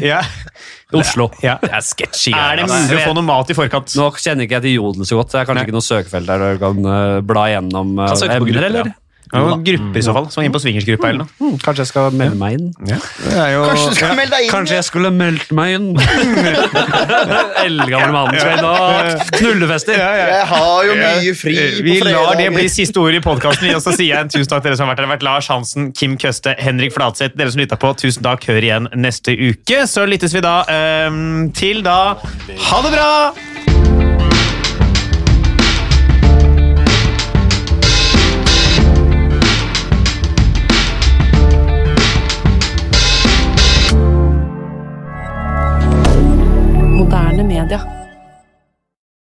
S2: Oslo.
S1: Ja.
S3: Det er sketchy.
S1: Er det mulig å få noe mat i forkant?
S2: Nå kjenner ikke jeg til jodel så godt, så det er kanskje ikke noe søkefelt der du kan eh, bla gjennom eh,
S3: søke på
S2: emner,
S3: grupper,
S2: eller?
S3: ja.
S1: Ja, noen grupper i så fall, som er inne på swingersgruppa eller noe.
S2: Hmm, kanskje jeg skal melde meg inn?
S4: Kanskje du skal melde deg inn?
S2: Kanskje jeg skulle meldt meg inn? Eldgammel mann skal inn og knullefester.
S4: Jeg har jo mye fri
S1: Eh, Vi
S4: på fredager.
S1: lar det bli siste ord i podkasten, og så sier jeg en tusen takk til dere som har vært her. Det har vært Lars Hansen, Kim Køste, Henrik Fladseth. Dere som lytta på, tusen takk. Hør igjen neste uke. Så lyttes vi da ehm, til da. Ha det bra!